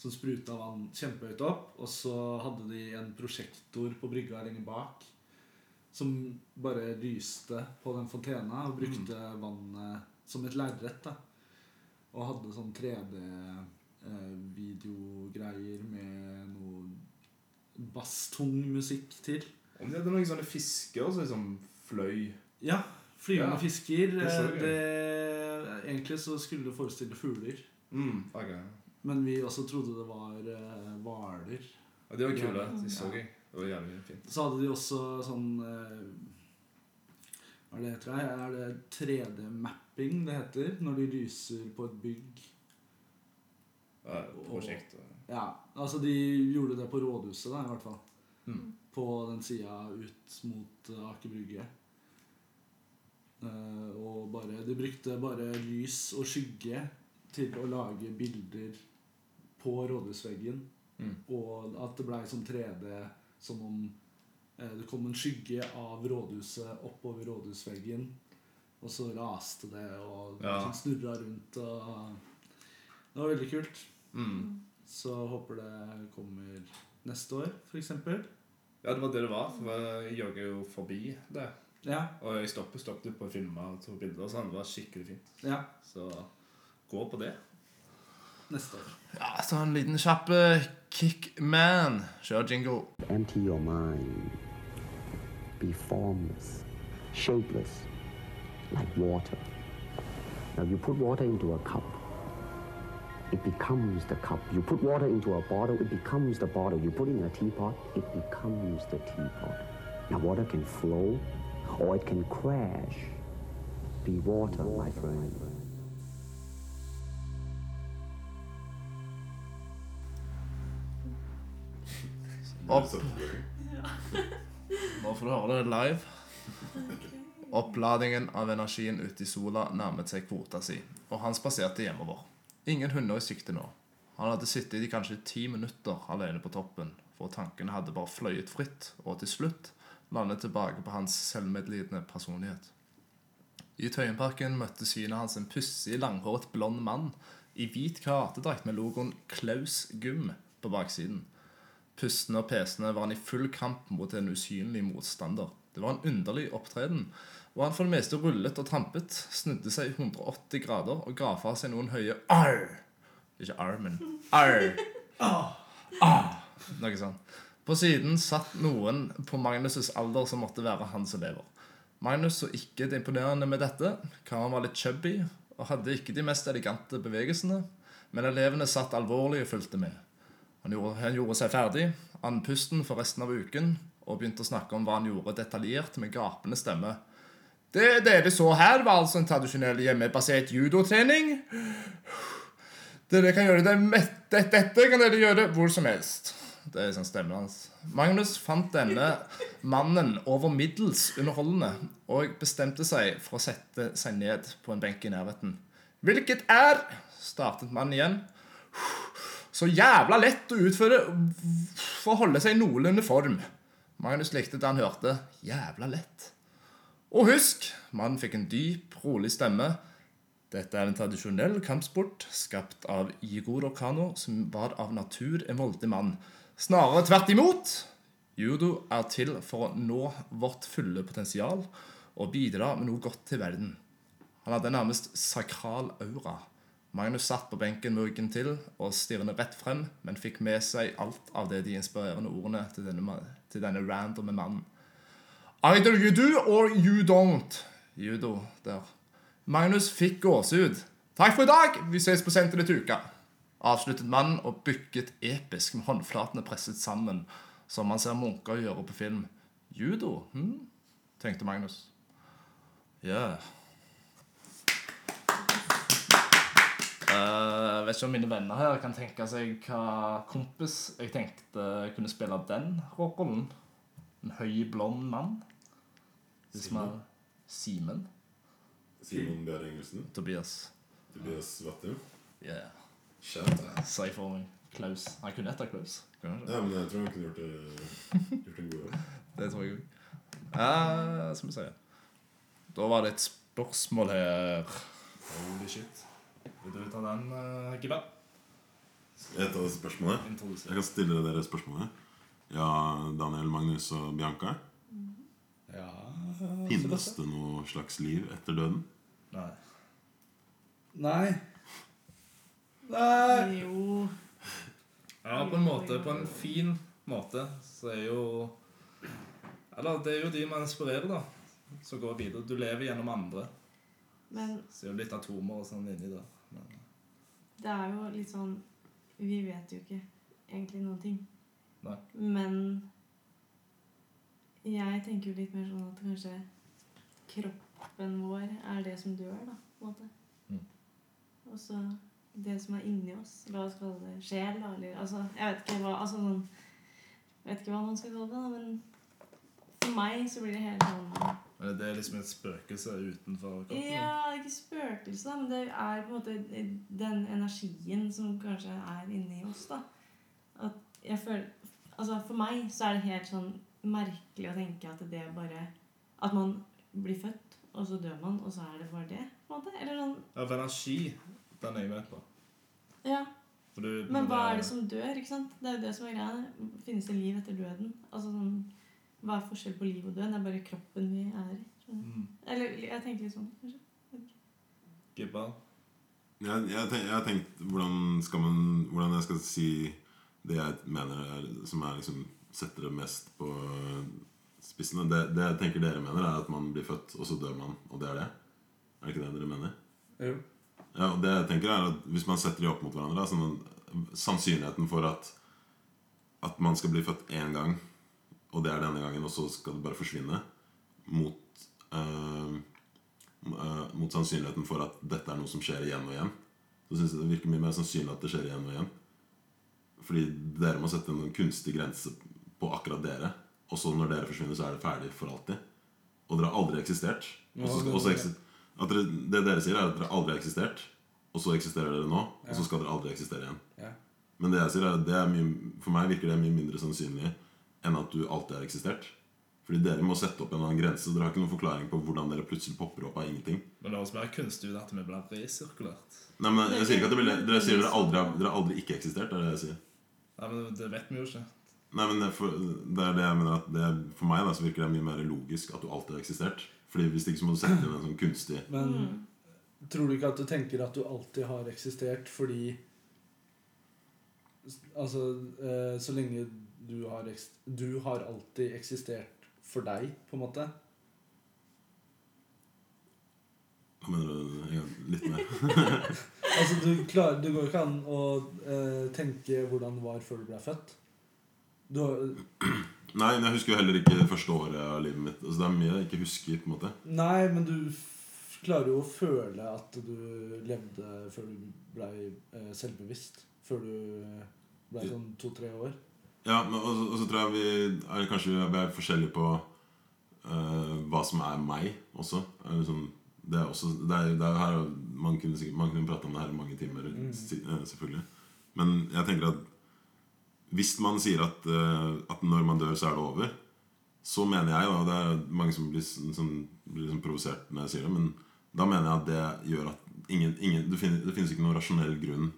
Speaker 2: Som spruta vann kjempehøyt opp. Og så hadde de en prosjektor på brygga lenger bak som bare lyste på den fontena og brukte vannet som et lerret. da. Og hadde sånn 3D-videogreier med noe basstung musikk til.
Speaker 5: Om de hadde noen sånne fisker som liksom fløy
Speaker 2: Ja. Flyvende
Speaker 5: Ja,
Speaker 2: fisker.
Speaker 5: det så jeg.
Speaker 2: eh, Det, egentlig så skulle det forestille fugler.
Speaker 5: mm, fuck, ja.
Speaker 2: Men vi også trodde det var eh, hvaler.
Speaker 5: Ja, De var kule.
Speaker 4: Ja.
Speaker 5: De så jeg. Det var jævlig fint.
Speaker 2: så hadde de også sånn eh, Hva er det heter? det? Er det 3D-mapping det heter? Når de lyser på et bygg.
Speaker 5: Ja, prosjekt.
Speaker 2: Ja, altså De gjorde det på rådhuset, da, i hvert fall.
Speaker 5: Mm.
Speaker 2: På den sida ut mot eh, Aker Brygge. Eh, og bare, de brukte bare lys og skygge til å lage bilder på rådhusveggen.
Speaker 5: Mm.
Speaker 2: Og at det blei sånn 3D som om eh, det kom en skygge av rådhuset oppover rådhusveggen. Og så raste det og
Speaker 5: Ja.
Speaker 2: snurra rundt. Og det var veldig kult.
Speaker 5: Mm.
Speaker 2: Så håper det kommer neste år, f.eks.
Speaker 5: Ja, det var det det var. For jeg jogger jo forbi det.
Speaker 2: Ja,
Speaker 5: Og jeg stoppet, stoppet på å filme og tok bilder. og sånn. Det var skikkelig fint.
Speaker 2: ja,
Speaker 5: Så gå på det.
Speaker 2: neste år.
Speaker 1: Ja, så en liten kjapp eh, kickman. Kjør jingo.
Speaker 6: Empty your mind. Be formless, shapeless, like water. Now you put water into a cup, it becomes the cup. You put water into a bottle, it becomes the bottle. You put it in a teapot, it becomes the teapot. Now water can flow or it can crash. Be water, my friend.
Speaker 1: Opp.
Speaker 3: Støtteføring.
Speaker 1: Nå får du høre det live.
Speaker 4: Ok.
Speaker 1: Oppladingen av energien ute i sola nærmet seg kvota si, og han spaserte hjemover. Ingen hunder i sikte nå. Han hadde sittet i kanskje ti minutter alene på toppen, for tankene hadde bare fløyet fritt, og til slutt landet tilbake på hans selvmedlidende personlighet. I Tøyenparken møtte synet hans en pussig, langhåret blond mann i hvit karatedrakt med logoen Klaus Gym på baksiden. Pustende og pesende var han i full kamp mot en usynlig motstander. Det var en underlig opptreden, og han for det meste rullet og trampet, snudde seg 180 grader og ga fra seg noen høye arr. Ikke arr, men arr. Ah. Noe sånt. På siden satt noen på Magnus' alder som måtte være han som lever. Magnus så ikke det imponerende med dette. Karen var litt chubby og hadde ikke de mest elegante bevegelsene, men elevene satt alvorlig og fulgte med. Han gjorde, han gjorde seg ferdig, andpusten for resten av uken, og begynte å snakke om hva han gjorde detaljert med gapende stemme. Det dere så her, var altså en tradisjonell hjemmebasert judotrening. Dere kan gjøre det mett- det- Dette kan dere gjøre hvor som helst. Det er sånn stemmen hans. Magnus fant denne mannen over middels underholdende og bestemte seg for å sette seg ned på en benk i nærheten. Hvilket er startet mannen igjen. Så jævla lett å utføre for å holde seg i noenlunde form. Magnus likte det han hørte. Jævla lett. Og husk, mannen fikk en dyp, rolig stemme. Dette er en tradisjonell kampsport skapt av Igor Okano, som var av natur en voldig mann. Snarere tvert imot. Judo er til for å nå vårt fulle potensial og bidra med noe godt til verden. Han hadde nærmest sakral aura. Magnus satt på benken med ryggen til og stirrende rett frem, men fikk med seg alt av det de inspirerende ordene til denne, ma- til denne randome mannen.
Speaker 5: Either you do or you don't. Judo der. Magnus fikk gåsehud. Takk for i dag! Vi ses på senteret til uka. Avsluttet mannen og bykket episk med håndflatene presset sammen, som man ser munker gjøre på film. Judo? Hm? tenkte Magnus. Ja Eh, vet ikke om mine venner her kan tenke seg hva kompis jeg tenkte kunne spille den rollen. En høy, blond mann. Hvis man Simen.
Speaker 3: Simon Bjerre Engelsen.
Speaker 5: Tobias.
Speaker 3: Tobias Vattum.
Speaker 5: Yeah.
Speaker 3: Shout out.
Speaker 5: Si for meg. Klaus. Han kunne hett Klaus. Kunne han ikke?
Speaker 3: Ja, men jeg tror han kunne gjort det, gjort det gode.
Speaker 5: Det tror jeg òg. Eh, skal vi se Da var det et spørsmål her.
Speaker 1: Holy shit. Vil du ta den, uh, Gibba?
Speaker 3: Jeg tar spørsmålet. Jeg
Speaker 1: Introdusere.
Speaker 3: kan stille dere spørsmålet. Ja, Daniel, Magnus og Bianca.
Speaker 1: Ja
Speaker 3: Finnes det noe slags liv etter døden?
Speaker 1: Nei.
Speaker 2: Nei. Nei.
Speaker 4: Jo.
Speaker 1: Ja, på en måte. På en fin måte så er jo Eller det er jo de man inspirerer, da, som går videre. Du lever gjennom andre.
Speaker 4: Men
Speaker 1: Så er jo litt atomer og sånn inni der. Men,
Speaker 4: det er jo litt sånn Vi vet jo ikke egentlig noen ting.
Speaker 1: Nei.
Speaker 4: Men jeg tenker jo litt mer sånn at kanskje kroppen vår er det som dør, da. på en måte.
Speaker 1: Mm.
Speaker 4: Og så det som er inni oss. La oss kalle det sjel, da. Eller altså Jeg vet ikke hva altså, sånn, jeg vet ikke hva man skal kalle det, da, men for meg så blir det helt sånn
Speaker 1: men det er liksom et spøkelse utenfor kroppen.
Speaker 4: Ja, det er ikke spøkelse, da, men det er på en måte den energien som kanskje er inni oss, da. At jeg føler Altså, for meg så er det helt sånn merkelig å tenke at det bare At man blir født, og så dør man, og så er det bare det, på en måte. Eller sånn
Speaker 1: Ja, for energi, den er jeg med på.
Speaker 4: Ja.
Speaker 1: For du,
Speaker 4: Men hva er det som dør, ikke sant? Det er jo det som er greia. Finnes det liv etter døden? Altså sånn Hva er forskjell på liv og død? Det er bare kroppen vi er i. skjønner du?
Speaker 1: mm.
Speaker 4: Eller jeg tenker litt sånn, kanskje.
Speaker 1: Gibba.
Speaker 3: Jeg, jeg, tenk, jeg har tenkt hvordan, skal man, hvordan jeg skal si det jeg mener er, som er liksom, setter det mest på spissen. og Det, det jeg tenker dere mener, er at man blir født, og så dør man. Og det er det. Er det ikke det dere mener?
Speaker 1: Jo.
Speaker 3: Ja, og det jeg tenker er at Hvis man setter de opp mot hverandre, sånn, at sannsynligheten for at, at man skal bli født én gang, og det er denne gangen, og så skal det bare forsvinne, mot, eh, eh, mot sannsynligheten for at dette er noe som skjer igjen og igjen, så syns jeg det virker mye mer sannsynlig at det skjer igjen og igjen. Fordi dere må sette en kunstig grense på akkurat dere. Og så når dere forsvinner, så er det ferdig for alltid. Og dere har aldri eksistert. Og så- og så eksi- at dere, det dere sier, er at dere aldri har eksistert, og så eksisterer dere nå, og så skal dere aldri eksistere igjen.
Speaker 1: Ja.
Speaker 3: Men det jeg sier er, at det er mye, for meg virker det mye mindre sannsynlig enn at du alltid har eksistert. Fordi dere må sette opp en eller annen grense. Dere har ikke noen forklaring på hvordan dere plutselig popper opp av ingenting.
Speaker 1: Men det høres mer kunstig ut at vi blir resirkulert.
Speaker 3: Nei, men jeg sier ikke at det blir, Dere sier dere aldri, har- dere har aldri ikke eksistert. Det er det jeg sier.
Speaker 1: Nei, men Det vet vi jo ikke.
Speaker 3: Nei, men det, er for, det er det jeg mener at det, er- For meg da, så virker det mye mer logisk at du alltid har eksistert. Fordi Hvis ikke så må du sette inn en sånn kunstig
Speaker 2: Men
Speaker 4: Mm.
Speaker 2: tror du ikke at du tenker at du alltid har eksistert fordi Altså, eh, så lenge du har eks- Du har alltid eksistert for deg, på en måte.
Speaker 3: Hva mener du? En gang, Litt mer.
Speaker 2: Altså, du klarer, Det går jo ikke an å eh, tenke hvordan det var før du ble født. Du har,
Speaker 3: Nei, men jeg husker jo heller ikke første året av livet mitt. Altså, det er mye jeg ikke husker. på en måte
Speaker 2: nei, men du f klarer jo å føle at du levde før du ble eh, selvbevisst. Før du ble sånn to-tre år.
Speaker 3: Ja, men Og så- og så tror jeg vi er, kanskje vi er forskjellige på eh, hva som er meg også. Er liksom, det er også det er, det er jo her man kunne, sikkert- man kunne prate om det her i mange timer, si- eh, selvfølgelig. Men jeg tenker at hvis man sier at, eh, at når man dør, så er det over, så mener jeg, da og Det er mange som blir, sånn- som blir sånn provosert når jeg sier det, men da mener jeg at det gjør at ingen, ingen, det, finnes, det finnes ikke noen rasjonell grunn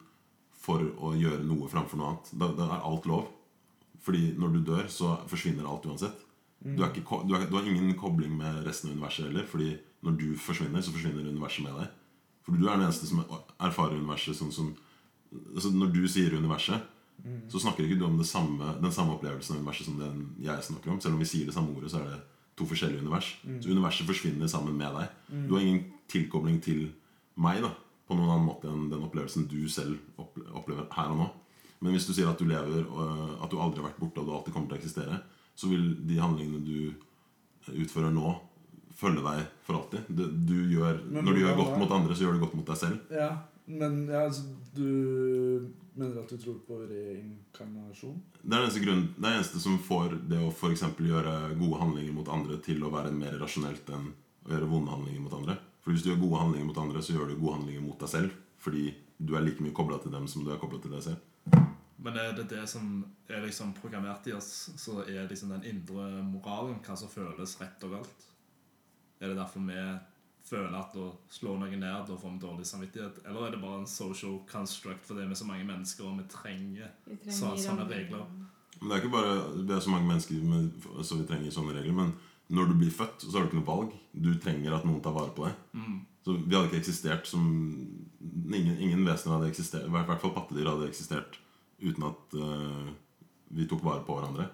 Speaker 3: for å gjøre noe framfor noe annet. Da, da er alt lov. Fordi når du dør, så forsvinner alt uansett. Du, er ikke, ko- du, er, du har ingen kobling med resten av universet heller. Fordi når du forsvinner, så forsvinner universet med deg. For du er den eneste som erfarer universet sånn som altså Når du sier universet, så snakker ikke du om det samme, den samme opplevelsen av universet som den jeg snakker om. Selv om vi sier det samme ordet, så er det to forskjellige univers.
Speaker 1: Mm.
Speaker 3: Så universet forsvinner sammen med deg.
Speaker 2: Mm.
Speaker 3: Du har ingen tilkobling til meg da på noen annen måte enn den opplevelsen du selv opp- opplever her og nå. Men hvis du sier at du lever og at du aldri har vært borte og du alltid kommer til å eksistere, så vil de handlingene du øh, utfører nå, følge deg for alltid. Du, du gjør,
Speaker 2: Men
Speaker 3: når du gjør
Speaker 2: hvordan
Speaker 3: godt
Speaker 2: da?
Speaker 3: mot andre, så gjør du godt mot deg selv.
Speaker 2: Ja, men ja, altså, du mener at du tror på reinkarnasjon?
Speaker 3: Det er den eneste, grunnen, det er den eneste som får det å for eksempel gjøre gode handlinger mot andre til å være mer rasjonelt enn å gjøre vonde handlinger mot andre. For hvis du gjør gode handlinger mot andre, så gjør du gode handlinger mot deg selv. Fordi du er like mye kobla til dem som du er kobla til deg selv.
Speaker 1: Men er det det som er liksom programmert i oss, så er liksom den indre moralen hva som føles rett og galt? Er det derfor vi føler at å slå noen ned, da får vi dårlig samvittighet? Eller er det bare en social construct fordi vi er så mange mennesker, og vi trenger
Speaker 4: Vi trenger
Speaker 1: Så- sånne
Speaker 4: andre-
Speaker 1: regler.
Speaker 3: Men det er ikke bare Det er så mange mennesker med, så vi trenger sånne regler. Men når du blir født, så har du ikke noe valg. Du trenger at noen tar vare på deg.
Speaker 1: mm.
Speaker 3: Så vi hadde ikke eksistert som Ingen, ingen vesener hadde eksistert I hvert hvert fall pattedyr hadde eksistert uten at eh, vi tok vare på hverandre.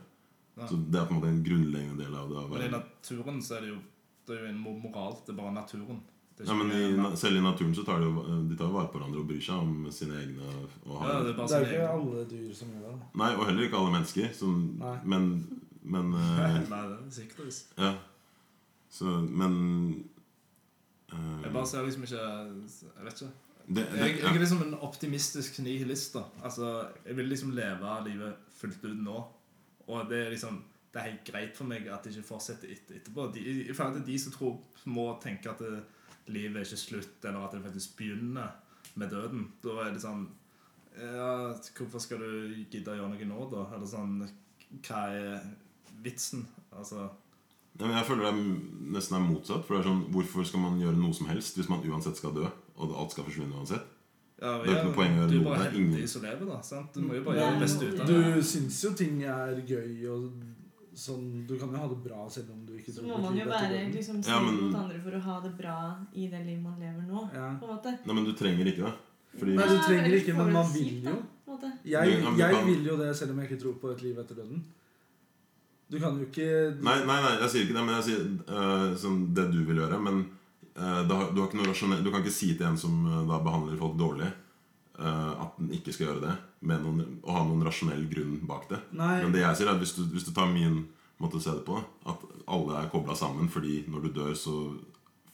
Speaker 1: Ja.
Speaker 3: Så det er på en måte en grunnleggende del av det. å
Speaker 1: Men i
Speaker 3: være-
Speaker 1: naturen så er det jo Det er jo en mo- moral. Det er bare naturen. Det er
Speaker 3: Ja,
Speaker 1: ikke
Speaker 3: men
Speaker 1: noe-
Speaker 3: i, na- selv i naturen så tar de, jo, de tar jo vare på hverandre og bryr seg om sine egne. Og
Speaker 1: ja, altså,
Speaker 3: har,
Speaker 1: det er bare
Speaker 2: Det er
Speaker 1: sin
Speaker 2: jo ikke
Speaker 1: egen
Speaker 2: alle dyr som gjør det.
Speaker 3: Nei, og heller ikke alle mennesker. Som,
Speaker 2: Nei.
Speaker 3: men men eh,
Speaker 1: Nei, det er sikkert.
Speaker 3: Ja. Så, men eh,
Speaker 1: Jeg bare ser liksom ikke Jeg vet ikke.
Speaker 3: det, det,
Speaker 1: Jeg, jeg er liksom en optimistisk nihilist. da Altså, Jeg vil liksom leve livet fullt ut nå. Og det er liksom Det er helt greit for meg at det ikke fortsetter etter, etterpå. De, i forhold til de som tror, må tenke at det, livet er ikke slutt, eller at det faktisk begynner med døden. Da er det sånn ja, Hvorfor skal du gidde å gjøre noe nå, da? Eller sånn Hva er vitsen? Altså
Speaker 3: Ja, men jeg føler det er nesten er motsatt. For det er sånn, Hvorfor skal man gjøre noe som helst hvis man uansett skal dø? Og alt skal forsvinne uansett?
Speaker 1: ja,
Speaker 3: Det er ikke noe poeng å gjøre
Speaker 1: Du
Speaker 3: noe.
Speaker 1: er bare
Speaker 3: Det er ingen-
Speaker 1: heldig som lever, da. sant? Du må jo bare gjøre
Speaker 4: Men
Speaker 1: det beste ut av det.
Speaker 2: Du syns jo ting er gøy og sånn Du kan jo ha det bra selv om du ikke
Speaker 4: Så
Speaker 2: tror
Speaker 4: må
Speaker 2: på
Speaker 4: man jo
Speaker 2: liv etter
Speaker 4: være
Speaker 2: døden.
Speaker 4: liksom
Speaker 3: Ja,
Speaker 4: snill
Speaker 3: men-
Speaker 4: mot andre for å ha det bra i det livet man lever nå.
Speaker 2: ja.
Speaker 4: På en måte.
Speaker 3: Nei, men du trenger ikke det. Fordi
Speaker 2: Nei,
Speaker 4: Ja,
Speaker 2: du trenger
Speaker 4: ellers
Speaker 2: ikke,
Speaker 4: får
Speaker 2: men
Speaker 4: du
Speaker 2: man
Speaker 4: det
Speaker 2: vil
Speaker 4: kjipt, da,
Speaker 2: jo.
Speaker 4: på en måte.
Speaker 2: Jeg,
Speaker 3: Ja, men du
Speaker 2: jeg
Speaker 3: kan-
Speaker 2: vil jo det, selv om jeg ikke tror på et liv etter døden. Du kan jo ikke
Speaker 3: Nei, nei, nei, jeg sier ikke det, men jeg sier eh, sånn, det du vil gjøre. Men eh, det har, du, har ikke noe rasjonell, du kan ikke si til en som eh, da behandler folk dårlig, eh, at den ikke skal gjøre det, med noen, og ha noen rasjonell grunn bak det.
Speaker 2: Nei.
Speaker 3: Men det jeg sier er at hvis du, hvis du tar min måte å se det på, at alle er kobla sammen fordi når du dør, så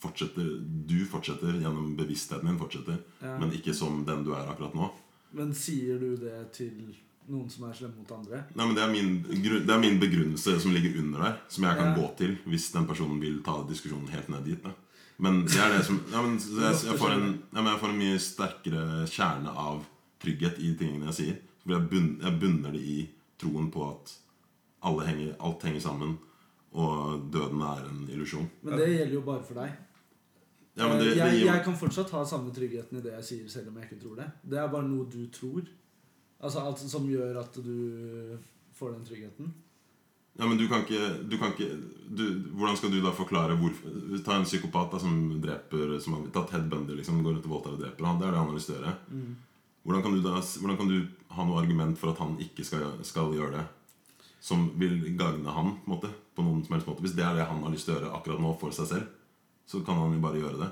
Speaker 3: fortsetter du fortsetter gjennom bevisstheten din, fortsetter,
Speaker 2: ja.
Speaker 3: men ikke som den du er akkurat nå.
Speaker 2: Men sier du det til noen som er slemme mot andre?
Speaker 3: Nei, men det er, min, grunn- det er min begrunnelse som ligger under der, som jeg kan
Speaker 2: Ja.
Speaker 3: gå til hvis den personen vil ta diskusjonen helt ned dit. Da. Men det er det som ja, men, så jeg, jeg, får en, ja, men jeg får en mye sterkere kjerne av trygghet i tingene jeg sier. For jeg, bunn, jeg bunner det i troen på at alle henger, alt henger sammen, og døden er en illusjon.
Speaker 2: Men det gjelder jo bare for deg. Eh,
Speaker 3: Ja, men det, det
Speaker 2: jeg,
Speaker 3: gir
Speaker 2: jeg kan fortsatt ha samme tryggheten i det jeg sier, selv om jeg ikke tror det. Det er bare noe du tror. Altså alt som gjør at du får den tryggheten.
Speaker 3: Ja, men du kan ikke, du kan ikke du, Hvordan skal du da forklare hvorfor Ta en psykopat da, som dreper Som har tatt Ted Bundy, liksom, går rundt og voldtar og dreper han. Det er det han har lyst til å gjøre. Hvordan kan du da Hvordan kan du ha noe argument for at han ikke skal, skal gjøre det? Som vil gagne han på, en måte, på noen som helst måte. Hvis det er det han har lyst til å gjøre akkurat nå for seg selv, så kan han jo bare gjøre det.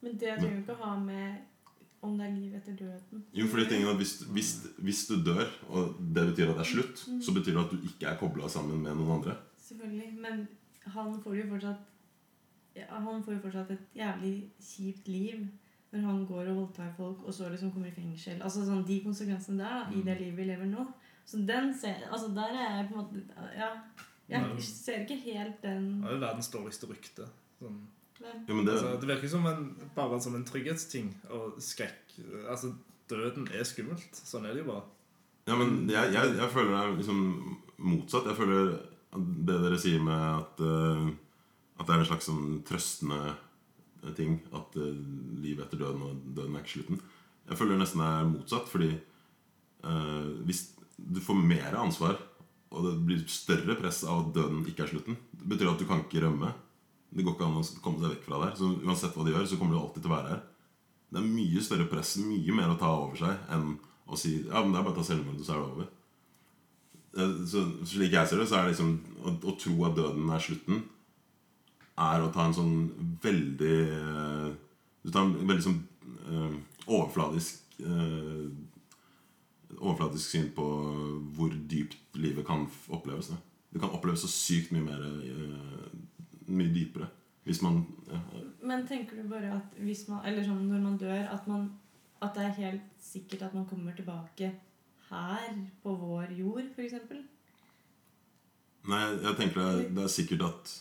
Speaker 4: Men det trenger jo ikke å ha med om det er liv etter døden.
Speaker 3: Jo, fordi tingen er at hvis, hvis, hvis du dør, og det betyr at det er slutt, så betyr det at du ikke er kobla sammen med noen andre.
Speaker 4: Selvfølgelig. Men han får jo fortsatt ja, Han får jo fortsatt et jævlig kjipt liv når han går og voldtar folk, og så liksom kommer i fengsel. Altså sånn, De konsekvensene der, da, i
Speaker 3: Mm.
Speaker 4: det livet vi lever nå. Så den ser Altså, der er jeg på en måte Ja.
Speaker 1: Men-
Speaker 4: Jeg ser ikke helt den
Speaker 1: Han er jo verdens dårligste rykte. Sånn.
Speaker 4: men-
Speaker 3: Jo, men det,
Speaker 1: Altså, det virker som en, bare som en trygghetsting og skrekk. Altså, døden er skummelt. Sånn er det jo bare.
Speaker 3: Ja, men jeg, jeg, jeg føler det er liksom motsatt. Jeg føler at det dere sier med at, eh, at det er en slags sånn trøstende ting At eh, livet etter døden og døden er ikke slutten. Jeg føler det nesten er motsatt, fordi eh, hvis du får mer ansvar, og det blir større press av at døden ikke er slutten, det betyr at du kan ikke rømme. Det går ikke an å komme deg vekk fra der. Så uansett hva du gjør, så kommer du alltid til å være her. Det er mye større press, mye mer å ta over seg enn å si ja, men det er bare å ta selvmord, og så er det over. Eh, Så, slik jeg ser det, så er det liksom å, å tro at døden er slutten, er å ta en sånn veldig eh, Du tar en veldig sånn eh, overfladisk eh, Overfladisk syn på hvor dypt livet kan f- oppleves. Da. Det kan oppleves så sykt mye mer eh, Mye dypere. Hvis man ja,
Speaker 4: Men tenker du bare at hvis man, eller sånn når man dør, at, man, at det er helt sikkert at man kommer tilbake her, på vår jord, f.eks.?
Speaker 3: Nei, jeg, jeg tenker det er, det er sikkert at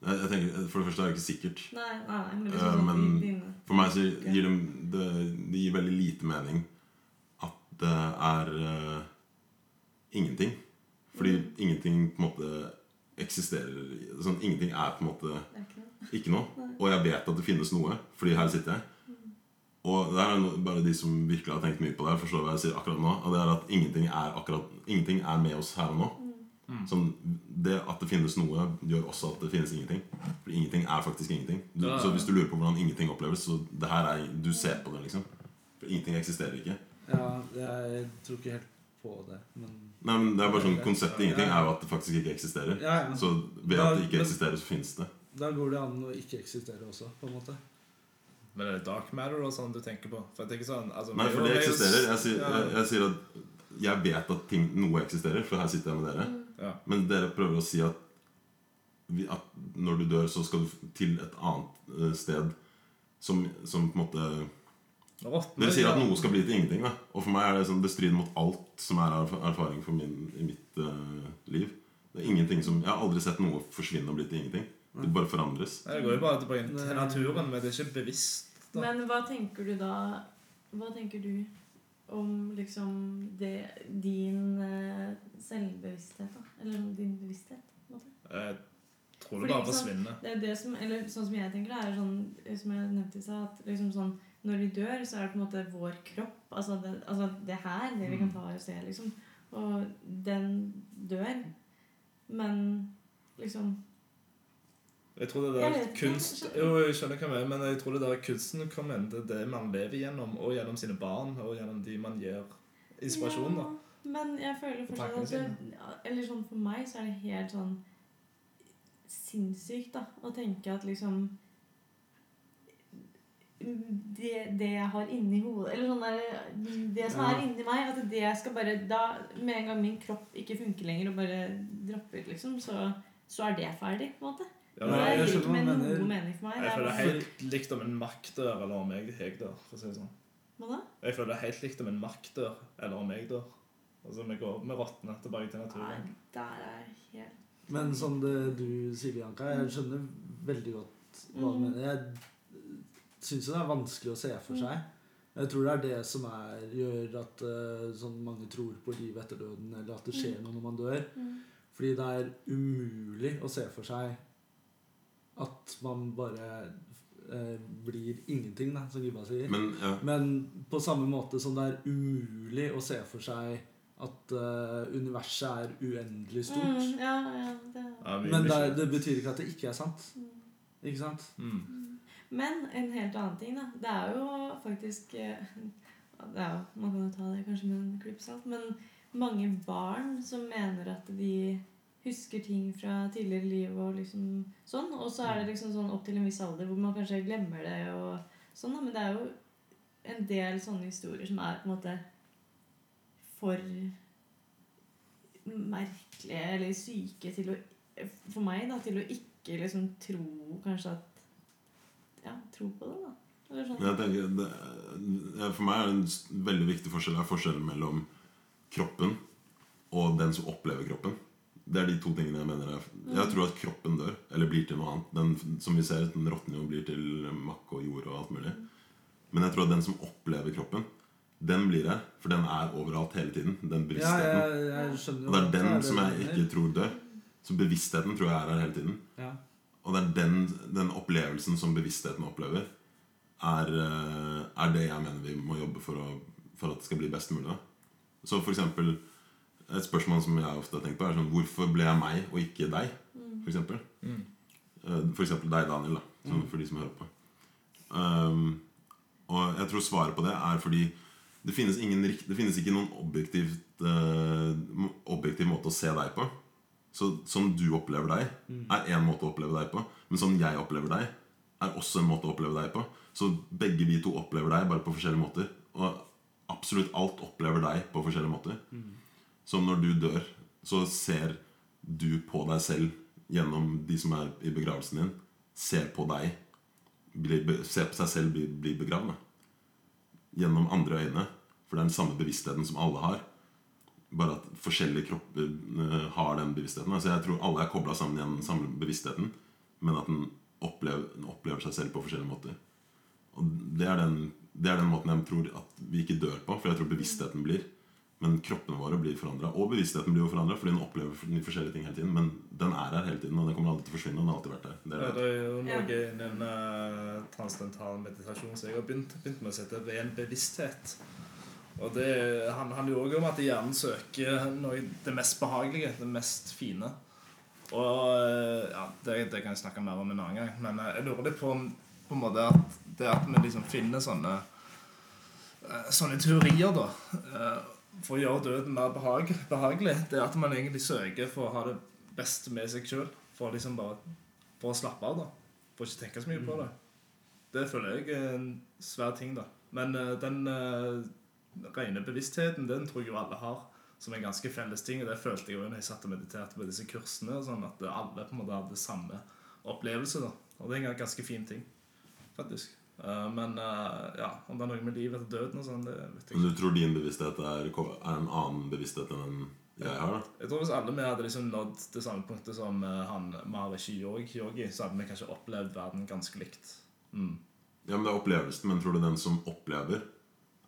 Speaker 3: jeg, jeg tenker, For det første er det ikke sikkert.
Speaker 4: Nei, nei, men
Speaker 3: Eh,
Speaker 4: liksom sånn
Speaker 3: men-
Speaker 4: i dine
Speaker 3: For meg så gir det, det, det gir veldig lite mening at det er eh, ingenting. Fordi
Speaker 4: Mm.
Speaker 3: ingenting på en måte eksisterer sånn, Ingenting er på en måte
Speaker 4: Det er ikke noe.
Speaker 3: ikke noe. Og jeg vet at det finnes noe, fordi her sitter jeg. Og det her er no- bare de som virkelig har tenkt mye på det, her forstår hva jeg sier akkurat nå. Og det er at ingenting er, akkurat, ingenting er med oss her og nå. Sånn, det at det finnes noe, gjør også at det finnes ingenting. For ingenting er faktisk ingenting. Du,
Speaker 1: Ja, ja, ja.
Speaker 3: Så hvis du lurer på hvordan ingenting oppleves, så det her er, du ser på det, liksom. For ingenting eksisterer ikke.
Speaker 2: Ja, jeg tror ikke helt på det, men
Speaker 3: Nei, men det er bare sånn Konseptet ingenting er jo at det faktisk ikke eksisterer.
Speaker 2: ja, ja.
Speaker 3: Så ved
Speaker 2: Ja,
Speaker 3: at det ikke
Speaker 2: men-
Speaker 3: eksisterer, så finnes det.
Speaker 2: Da går det an å ikke eksistere også, på en måte.
Speaker 1: Men er det dark matter og sånn du tenker på? For jeg tenker sånn altså,
Speaker 3: Nei,
Speaker 1: vi-
Speaker 3: for det
Speaker 1: vi-
Speaker 3: eksisterer. Jeg sier,
Speaker 1: Ja.
Speaker 3: jeg, jeg sier at jeg vet at ting, noe eksisterer, for her sitter jeg med dere.
Speaker 1: Ja.
Speaker 3: Men dere prøver å si at, vi, at når du dør, så skal du til et annet eh, sted som, som på en måte
Speaker 1: Råtner,
Speaker 3: Dere sier at
Speaker 1: ja.
Speaker 3: noe skal bli til ingenting. da Og for meg er det sånn, det strider mot alt som er erf- erfaring for min, i mitt eh, liv. Det er ingenting som, Jeg har aldri sett noe forsvinne og bli til ingenting. Det bare forandres.
Speaker 1: Nei, Det går jo bare tilbake
Speaker 2: Nei.
Speaker 1: til naturen, men det er ikke bevisst. Da.
Speaker 4: Men hva tenker du da Hva tenker du om liksom det, din eh, selvbevissthet, da? Eller om din bevissthet? på en måte?
Speaker 1: Jeg tror
Speaker 4: Fordi,
Speaker 1: det bare
Speaker 4: ikke sant,
Speaker 1: forsvinner.
Speaker 4: Det er det som, eller sånn som jeg tenker det, er sånn eh, som jeg nevnte i stad, at liksom sånn når vi dør, så er det på en måte vår kropp. Altså det, altså det her, det vi kan ta og se, liksom. Og den dør. Men liksom
Speaker 1: Jeg tror det
Speaker 4: Jeg
Speaker 1: der
Speaker 4: vet ikke,
Speaker 1: kunst
Speaker 4: jeg skjønner.
Speaker 1: Jo, jeg skjønner hva jeg mener, men jeg tror det der kunsten kommer inn til det man lever gjennom, og gjennom sine barn, og gjennom de man gir inspirasjon, da.
Speaker 4: Ja, men jeg føler
Speaker 1: Og
Speaker 4: fortsatt
Speaker 1: tankene
Speaker 4: at det, Eller sånn for meg så er det helt sånn sinnssykt da å tenke at liksom det, det jeg har inni hodet Eller sånn der Det som
Speaker 2: Ja.
Speaker 4: er inni meg, at det skal bare da, Med en gang min kropp ikke funker lenger og bare dropper ut, liksom, så, så er det ferdig, på en måte.
Speaker 1: Ja,
Speaker 2: Nei,
Speaker 1: men
Speaker 4: det
Speaker 1: jeg,
Speaker 4: gir
Speaker 2: skjønner
Speaker 4: ikke
Speaker 2: hva
Speaker 4: med
Speaker 2: du mener.
Speaker 4: noe mening for meg.
Speaker 1: jeg føler det
Speaker 4: det er,
Speaker 1: helt likt om en maktdør eller om jeg jeg dør, for å si det sånn.
Speaker 4: Hva da?
Speaker 1: Jeg føler det helt likt om en maktdør eller om jeg dør. Altså, vi går med rottene tilbake til
Speaker 4: Nei,
Speaker 1: naturen.
Speaker 4: der er jeg helt
Speaker 2: Men som det du sier, Bianca, jeg skjønner veldig godt hva du
Speaker 4: Mm.
Speaker 2: mener. Jeg syns jo det er vanskelig å se for seg.
Speaker 4: Mm.
Speaker 2: Jeg tror det er det som er, gjør at eh, sånn mange tror på livet etter døden, eller at det skjer noe når man dør.
Speaker 4: Mm.
Speaker 2: Fordi det er umulig å se for seg at man bare eh, blir ingenting, da, som Gibba sier.
Speaker 3: Men ja,
Speaker 2: Men på samme måte som det er umulig å se for seg at eh, universet er uendelig stort.
Speaker 4: Mm, ja, ja, det er
Speaker 1: Ja, vi-
Speaker 2: Men
Speaker 1: vi
Speaker 2: det,
Speaker 1: skjønner.
Speaker 2: er- det betyr ikke at det ikke er sant. Ikke sant?
Speaker 1: Mm.
Speaker 4: Men en helt annen ting, da. Det er jo faktisk eh, det er jo, Man kan jo ta det kanskje med en klype salt, men mange barn som mener at de husker ting fra tidligere liv og liksom sånn. Og så er det liksom sånn opp til en viss alder hvor man kanskje glemmer det og sånn, da. Men det er jo en del sånne historier som er på en måte for merkelige eller syke til å For meg, da, til å ikke liksom tro kanskje at ja, tro på det, da. Eller sånn.
Speaker 3: Men Jeg tenker, det, ja, for meg er det en s- veldig viktig forskjell er forskjellen mellom kroppen og den som opplever kroppen. Det er de to tingene jeg mener er Jeg tror at kroppen dør, eller blir til noe annet. Den, f- som vi ser, den råtner jo og blir til makk og jord og alt mulig. Men jeg tror at den som opplever kroppen, den blir jeg. For den er overalt hele tiden.
Speaker 2: Ja,
Speaker 3: Den bevisstheten.
Speaker 2: jeg, jeg skjønner jo
Speaker 3: Og det er
Speaker 2: at
Speaker 3: den
Speaker 2: det
Speaker 3: som jeg
Speaker 2: du mener.
Speaker 3: ikke tror dør. Så bevisstheten tror jeg er her hele tiden.
Speaker 2: ja.
Speaker 3: Og det er den, den opplevelsen som bevisstheten opplever, er, eh, er det jeg mener vi må jobbe for, å, for at det skal bli best mulig. da. Så for eksempel, et spørsmål som jeg ofte har tenkt på, er sånn Hvorfor ble jeg meg og ikke deg? For eksempel.
Speaker 1: Mm.
Speaker 3: Eh, For eksempel deg, Daniel, da, sånn for de som hører på. Um, og jeg tror svaret på det er fordi Det finnes, ingen, rikt- det finnes ikke noen objektivt, eh, objektiv måte å se deg på. Så Sånn du opplever deg, er én måte å oppleve deg på. Men sånn jeg opplever deg, er også en måte å oppleve deg på. Så begge vi to opplever deg bare på forskjellige måter. Og absolutt alt opplever deg på forskjellige måter. Som når du dør, så ser du på deg selv gjennom de som er i begravelsen din. Ser på deg bli, be- Ser på seg selv bli, bli begravd. da. Gjennom andre øyne. For det er den samme bevisstheten som alle har. Bare at forskjellige kropper eh, har den bevisstheten. da. Så jeg tror alle er kobla sammen gjennom den samme bevisstheten, men at den opplever, den opplever seg selv på forskjellige måter. Og det er, den, det er den måten jeg tror at vi ikke dør på, for jeg tror bevisstheten blir. Men kroppene våre blir forandra. Og bevisstheten blir jo forandra fordi den opplever for- forskjellige ting hele tiden. Men den er her hele tiden, og den kommer aldri til å forsvinne. og Den har alltid vært der. Det er
Speaker 1: Ja,
Speaker 3: det.
Speaker 1: det er jo noe
Speaker 4: Ja.
Speaker 1: jeg nevner transdental meditasjon, som jeg har begynt, begynt med å sette ren bevissthet. Og det han- handler jo òg om at hjernen søker noe, det mest behagelige, det mest fine. Og eh, ja, det, det kan jeg snakke mer om en annen gang, men eh, jeg lurer litt på om på en måte at det at vi liksom finner sånne eh, sånne teorier, da, eh, for å gjøre døden mer behag, behagelig, det er at man egentlig søker for å ha det beste med seg sjøl. For å liksom bare for å slappe av, da. For å ikke tenke så mye på det. Det føler jeg er en svær ting, da. Men eh, den eh, rene bevisstheten, den tror jeg jo alle har, som en ganske felles ting. Og det følte jeg jo når jeg satt og mediterte på disse kursene, og sånn at alle på en måte hadde samme opplevelse, da. Og det er en ganske fin ting, faktisk. Eh, men eh, ja, om det er noe med livet etter døden og sånn, det vet jeg
Speaker 3: Men
Speaker 1: ikke.
Speaker 3: du tror din bevissthet er, er en annen bevissthet enn den jeg har? da?
Speaker 1: Jeg tror Hvis alle vi hadde liksom nådd det samme punktet som eh, han Marishi Yogi, Yogi, så hadde vi kanskje opplevd verden ganske likt. Mm.
Speaker 3: Ja, men Det er opplevelsen, men tror du den som opplever,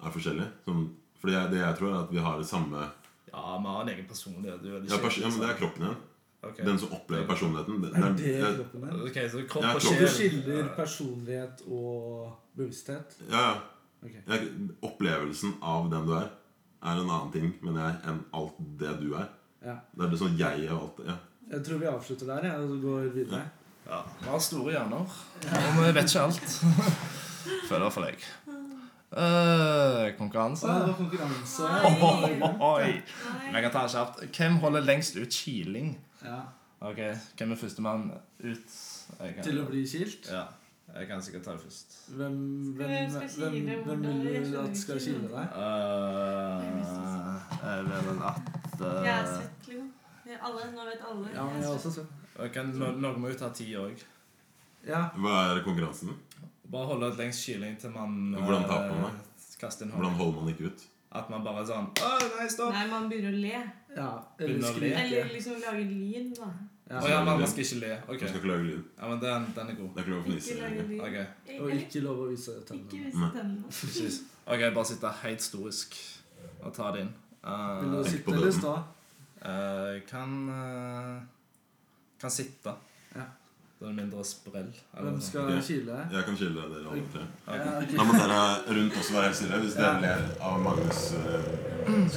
Speaker 3: er forskjellig? Som, fordi jeg, det jeg tror, er at vi har det samme
Speaker 1: Ja, vi har en egen personlighet. Du er veldig
Speaker 3: ja, pers ja,
Speaker 1: kjedelig,
Speaker 3: men Det er
Speaker 1: sant?
Speaker 3: kroppen igjen.
Speaker 1: Ok.
Speaker 3: Den som opplever personligheten. Det,
Speaker 2: Er
Speaker 3: det
Speaker 2: det
Speaker 3: er- det-
Speaker 2: kroppen her?
Speaker 1: Ok, så kropp
Speaker 3: Ja,
Speaker 1: og
Speaker 3: kropp.
Speaker 1: sjel
Speaker 2: Du skiller personlighet og bevissthet?
Speaker 3: ja, ja.
Speaker 2: Ok.
Speaker 3: Jeg, opplevelsen av den du er, er en annen ting mener jeg, enn alt det du er.
Speaker 2: Ja.
Speaker 3: Det er det sånn jeg er alt ja.
Speaker 2: Jeg tror vi avslutter der, jeg, og så går videre.
Speaker 1: Ja, vi har store hjerner. Og vi vet ikke alt. Føler for deg.
Speaker 5: Eh,
Speaker 2: Så det
Speaker 5: konkurranse.
Speaker 2: var konkurranse. Ah.
Speaker 5: Oi.
Speaker 4: Nei.
Speaker 5: Jeg kan ta det kjapt. Hvem holder lengst ut kiling?
Speaker 2: Ja.
Speaker 1: Ok, Hvem er førstemann ut? Jeg kan,
Speaker 2: Til å bli kilt.
Speaker 1: Ja, jeg kan sikkert ta det først.
Speaker 2: Hvem,
Speaker 4: Skal
Speaker 2: hvem,
Speaker 4: jeg- skal jeg
Speaker 2: hvem,
Speaker 4: kile
Speaker 2: hvem
Speaker 4: hvordan? Jeg
Speaker 2: vil du
Speaker 4: skjønner
Speaker 2: at skal
Speaker 4: ikke.
Speaker 2: kile deg?
Speaker 1: Uh, jeg vil vel at
Speaker 4: Jeg er
Speaker 1: uh,
Speaker 4: svett, liksom. Jeg- Alle, nå vet alle.
Speaker 2: Ja, men jeg er også svett.
Speaker 1: jeg kan, no- Noen må jo ta ti òg.
Speaker 2: Ja.
Speaker 3: Hva er konkurransen?
Speaker 1: Bare holde et lengst kiling til man eh,
Speaker 3: Hvordan taper man
Speaker 1: Kaster en
Speaker 3: Hvordan
Speaker 1: hånd.
Speaker 3: holder man ikke ut?
Speaker 1: At man bare sånn Å, nei, stopp!
Speaker 4: Nei, man begynner å le.
Speaker 2: ja.
Speaker 1: Begynner å
Speaker 2: Eller
Speaker 1: le.
Speaker 2: skrike.
Speaker 4: Eller liksom lage lyd, da.
Speaker 1: Å
Speaker 2: Ja.
Speaker 1: ja, man, man skal ikke le. Ok,
Speaker 3: Man skal ikke lage lyd.
Speaker 1: ja, men den, den er god.
Speaker 3: Det er ikke lov å
Speaker 4: Ikke
Speaker 3: fnise.
Speaker 4: lage lyd.
Speaker 1: Ok,
Speaker 2: Og
Speaker 4: Eller
Speaker 2: ikke lov å vise
Speaker 4: ikke
Speaker 2: tennene.
Speaker 4: vise tennene.
Speaker 1: Precis. Ok, bare sitte helt stoisk og ta det inn. Eh,
Speaker 2: Vil du
Speaker 3: Tenk på
Speaker 2: sitte eller
Speaker 3: døden.
Speaker 2: stå?
Speaker 1: eh, kan eh, kan sitte.
Speaker 2: Ja.
Speaker 1: Da er det mindre sprell. eller
Speaker 2: Hvem
Speaker 1: noe sånt.
Speaker 2: skal
Speaker 3: Ok.
Speaker 2: kile?
Speaker 3: Jeg kan skille dere alle tre.
Speaker 2: Ja, ok.
Speaker 3: Da må dere rundt også være helt stille hvis dere
Speaker 2: Ja.
Speaker 3: ler av Magnus. eh,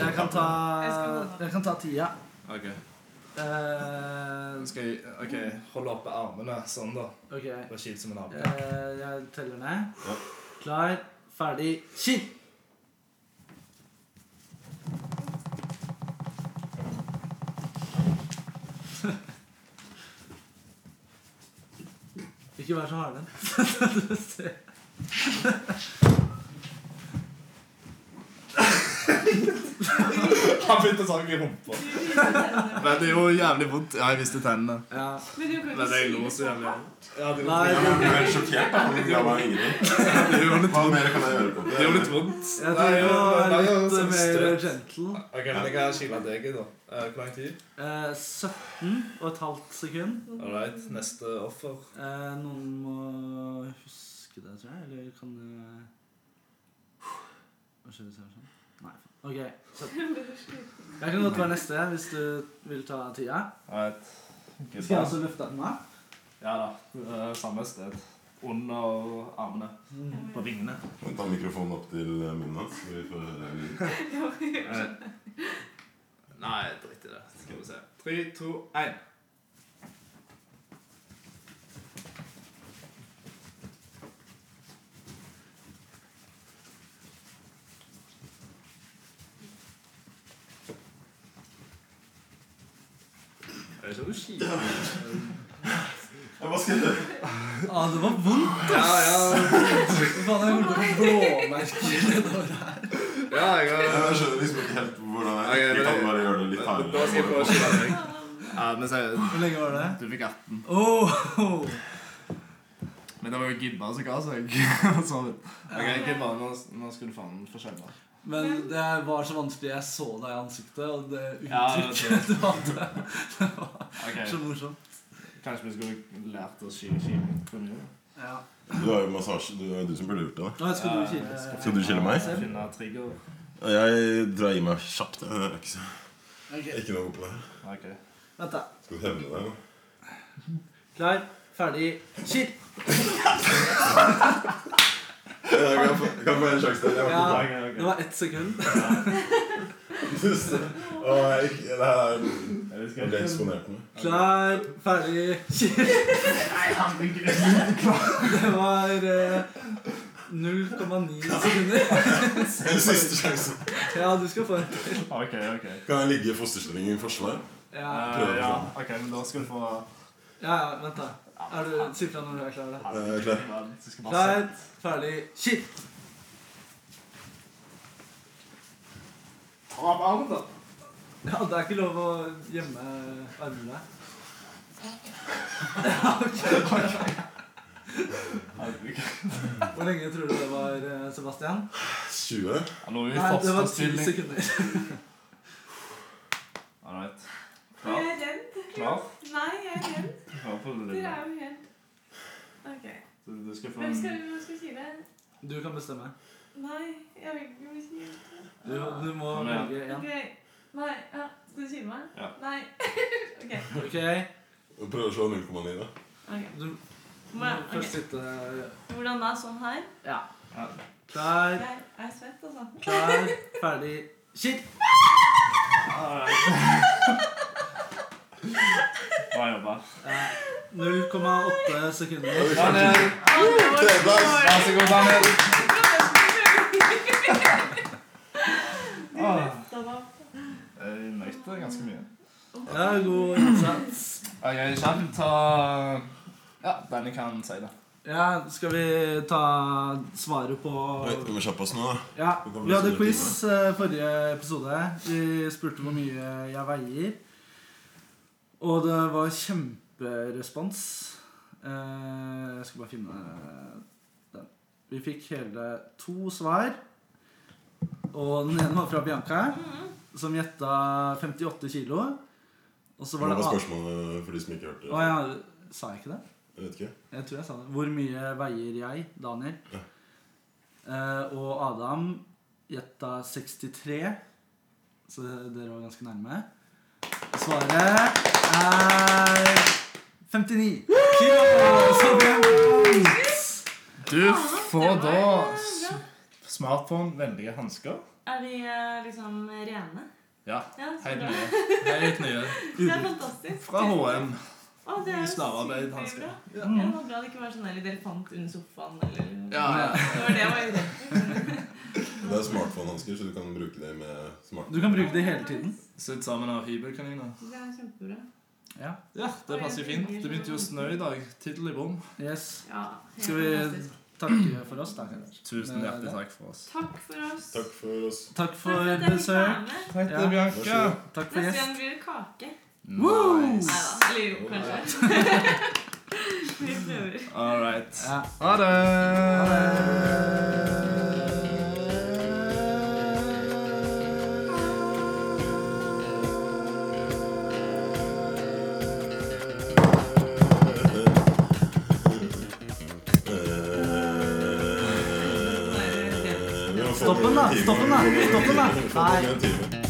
Speaker 2: Jeg kan ta,
Speaker 4: Jeg skal holde.
Speaker 2: jeg kan ta tida.
Speaker 1: Ok,
Speaker 2: Eh,
Speaker 1: Nå skal jeg ok, holde oppe armene sånn, da.
Speaker 2: ok.
Speaker 1: Bare kilt som en ape.
Speaker 2: Eh, jeg teller ned.
Speaker 3: Ja.
Speaker 2: Klar, ferdig, kill! Ikke vær så harde. Du ser.
Speaker 1: Han begynte å sage i rumpa.
Speaker 4: Du viser tennene.
Speaker 1: Men det gjorde jævlig vondt. Ja, jeg visste tennene.
Speaker 2: Ja.
Speaker 4: Men du kan
Speaker 1: Men jeg
Speaker 4: ikke
Speaker 1: lo
Speaker 4: si
Speaker 1: så
Speaker 4: det.
Speaker 1: jævlig. Ja, det
Speaker 2: Nei,
Speaker 1: gjorde
Speaker 3: Jeg ble helt sjokkert. da, men Det var ingenting.
Speaker 1: det gjorde litt
Speaker 3: Hva
Speaker 1: vondt.
Speaker 3: mer kan jeg gjøre på
Speaker 1: Det gjorde
Speaker 3: det?
Speaker 1: litt vondt.
Speaker 2: Jeg
Speaker 1: Nei,
Speaker 2: tror det
Speaker 1: men
Speaker 2: var
Speaker 1: det er jo
Speaker 2: litt
Speaker 1: sånn
Speaker 2: mer
Speaker 1: støt.
Speaker 2: gentle.
Speaker 1: Ok, men jeg kan skille deg, da. Eh, Hvor lang tid?
Speaker 2: Eh, 17 og et halvt sekund.
Speaker 1: All right, neste offer.
Speaker 2: Eh, noen må huske det, tror jeg. Eller kan det Hva skjer hvis jeg gjør sånn? Nei. faen. Ok. Så. Jeg kan godt være neste hvis du vil ta tida.
Speaker 1: All right. Good
Speaker 2: Skal
Speaker 1: times.
Speaker 2: jeg også løfte den av?
Speaker 1: Ja da. det er Samme sted. Under armene. På vingene.
Speaker 3: Ta mikrofonen opp til munnen hans. så vi får høre lyden.
Speaker 1: Eh, Nei, drit i det. Skal vi se. Tre, to, én.
Speaker 7: ikke
Speaker 1: sånn
Speaker 7: noe kjipt.
Speaker 3: Jeg bare skal
Speaker 2: ah, det var vondt,
Speaker 7: Ja, ja,
Speaker 2: ass! Hva faen, jeg gjorde på blåmerker nedover her.
Speaker 7: ja, jeg har
Speaker 3: Jeg skjønner liksom ikke helt hvordan
Speaker 7: Ok,
Speaker 3: jeg,
Speaker 7: men-
Speaker 3: jeg kan bare gjøre det litt
Speaker 7: Da skal jeg prøve å
Speaker 3: hardere.
Speaker 7: skille meg. Ja, men seriøst,
Speaker 2: Hvor lenge var det?
Speaker 1: Du fikk 18.
Speaker 2: Oh,
Speaker 1: Men det var jo gibba som ga seg. Sånn. Ok, gibba, nå, nå skal du faen få skjelve.
Speaker 2: Men det var så vanskelig. Jeg så deg i ansiktet, og det
Speaker 1: Ja, det
Speaker 2: uttrykket du hadde, det var så
Speaker 1: Ok,
Speaker 2: morsomt.
Speaker 1: Kanskje vi skulle lært oss skilekilling for mye?
Speaker 2: Ja.
Speaker 3: Du har jo massasje. Du, det er du som burde gjort det. da.
Speaker 2: Nå skal du
Speaker 1: Ja,
Speaker 2: kile.
Speaker 3: Skal du skille meg?
Speaker 1: Finne trigger.
Speaker 3: Jeg drar i meg kjapt. Jeg er ikke, så-
Speaker 2: Ok,
Speaker 3: ikke noe god på det.
Speaker 1: Ok.
Speaker 2: Vent, da.
Speaker 3: Skal du hevne deg nå?
Speaker 2: Klar, ferdig, kill!
Speaker 3: Jeg kan få- jeg kan få en sjanse til. Jeg
Speaker 2: Ja,
Speaker 3: har ikke
Speaker 2: det var ett sekund.
Speaker 3: pust. Å, jeg- Det her jeg ble eksponert nå.
Speaker 2: Klar, ferdig, kill! Det var eh, 0,9 sekunder.
Speaker 3: En siste sjanse.
Speaker 2: Ja, du skal få en.
Speaker 1: Ok, ok.
Speaker 3: Kan jeg ligge i fosterstilling i forsvar?
Speaker 2: Ja,
Speaker 1: Eh, ja, ok, men da skal du få
Speaker 2: ja, ja vent, da. Er du, si fra når du er klar. da.
Speaker 3: Jeg er klar.
Speaker 1: Du skal bare
Speaker 2: Klar, ferdig, kill!
Speaker 1: se- Ta opp armen, da.
Speaker 2: Ja, det er ikke lov å gjemme armene.
Speaker 1: Herregud.
Speaker 2: Hvor lenge tror du det var, eh, Sebastian?
Speaker 3: 20.
Speaker 1: Han lå jo i
Speaker 2: Nei, det var ti
Speaker 1: fosterstilling.
Speaker 2: sekunder.
Speaker 1: All right.
Speaker 4: Jeg
Speaker 1: Klar?
Speaker 4: er redd.
Speaker 1: Klar?
Speaker 4: Nei, jeg er redd.
Speaker 1: Klar for det
Speaker 4: Dere
Speaker 1: lille.
Speaker 4: er jo helt Ok.
Speaker 1: Så Du skal få
Speaker 4: Hvem
Speaker 1: en
Speaker 4: skal hvem skal kile?
Speaker 2: Du kan bestemme.
Speaker 4: Nei, jeg vil ikke bli kilet.
Speaker 2: Du, du må
Speaker 1: Kom igjen.
Speaker 2: velge én.
Speaker 4: Ok. Nei, ja. Skal du kile meg?
Speaker 1: Ja.
Speaker 4: Nei. ok.
Speaker 2: Ok,
Speaker 3: Prøv å slå 0,9, da.
Speaker 4: ok.
Speaker 2: du
Speaker 4: Må
Speaker 2: må
Speaker 4: jeg-
Speaker 2: først
Speaker 4: ok.
Speaker 2: sitte
Speaker 4: Hvordan det er sånn her?
Speaker 2: Ja.
Speaker 1: Ja.
Speaker 2: Klar,
Speaker 4: Jeg er svett, altså.
Speaker 2: klar, ferdig, kill!
Speaker 1: All right. Bra jobba.
Speaker 2: Ja, 0,8 sekunder.
Speaker 1: Daniel!
Speaker 4: Ah,
Speaker 1: Vær så god, Daniel. Ah, jeg nøyte ganske mye.
Speaker 2: Ja, god innsats.
Speaker 1: Ok, Kjell, ta Ja, Danny kan si det.
Speaker 2: Ja, skal vi ta svaret på
Speaker 3: Oi, Du må kjappe oss nå, da.
Speaker 2: Ja, vi hadde quiz eh, forrige episode. Vi spurte hvor mye jeg veier. Og det var kjemperespons. Eh, Jeg skal bare finne den. Vi fikk hele to svar. Og den ene var fra Bianca, som gjetta 58 kilo. Og så
Speaker 3: Hva
Speaker 2: var det
Speaker 3: var
Speaker 2: Å
Speaker 3: spørsmålet for de som ikke hørte?
Speaker 2: ja, sa jeg ikke det?
Speaker 3: Jeg vet ikke.
Speaker 2: Jeg tror jeg sa det. Hvor mye veier jeg, Daniel?
Speaker 3: Ja.
Speaker 2: Eh, og Adam gjetta 63, så dere var ganske nærme. Svaret er 59 kilo! Så vi er vant!
Speaker 1: Du får da s- smartphone, vennlige hansker.
Speaker 4: Er de eh, liksom rene?
Speaker 1: Ja.
Speaker 4: Ja, så
Speaker 1: Helt
Speaker 4: bra.
Speaker 1: nye. Helt nye.
Speaker 4: Det er fantastisk.
Speaker 1: Fra HM.
Speaker 4: Å, det er jo
Speaker 1: Slavearbeid,
Speaker 4: superbra.
Speaker 1: hansker.
Speaker 4: Ja, det var bra det ikke var sånn der elefant under sofaen eller
Speaker 1: Ja, ja.
Speaker 4: Det var det jeg var redd for.
Speaker 3: Det er smartphone-hansker, så du kan bruke det med smartphone.
Speaker 2: Du kan bruke det hele tiden.
Speaker 1: Sydd sammen av hybelkaniner.
Speaker 4: Det er kjempebra.
Speaker 2: Ja.
Speaker 1: Ja, det passer jo fint. Det begynte jo å snø i dag. Tidlig bom.
Speaker 2: Yes.
Speaker 4: Ja, helt
Speaker 2: Skal vi-
Speaker 4: fantastisk.
Speaker 2: Takke for oss, da. kanskje.
Speaker 1: Tusen hjertelig takk for oss.
Speaker 4: Takk for oss.
Speaker 3: Takk for oss.
Speaker 2: Takk
Speaker 4: Takk
Speaker 2: for
Speaker 4: at jeg fikk
Speaker 2: besøk.
Speaker 4: være med.
Speaker 1: Takk
Speaker 2: Ja.
Speaker 1: til Bianca.
Speaker 3: Vær så
Speaker 2: Takk for
Speaker 4: Neste gang
Speaker 2: gjest.
Speaker 4: blir det kake.
Speaker 2: Woo!
Speaker 4: Nei da. Eller jo, kanskje. Vi prøver.
Speaker 1: All right.
Speaker 2: Ja.
Speaker 1: Ha det.
Speaker 4: Nei, det er det. Eh.
Speaker 3: Eh,
Speaker 2: Stopp den, da! Stopp den, da! Stopp den, da. Nei.
Speaker 3: Nei.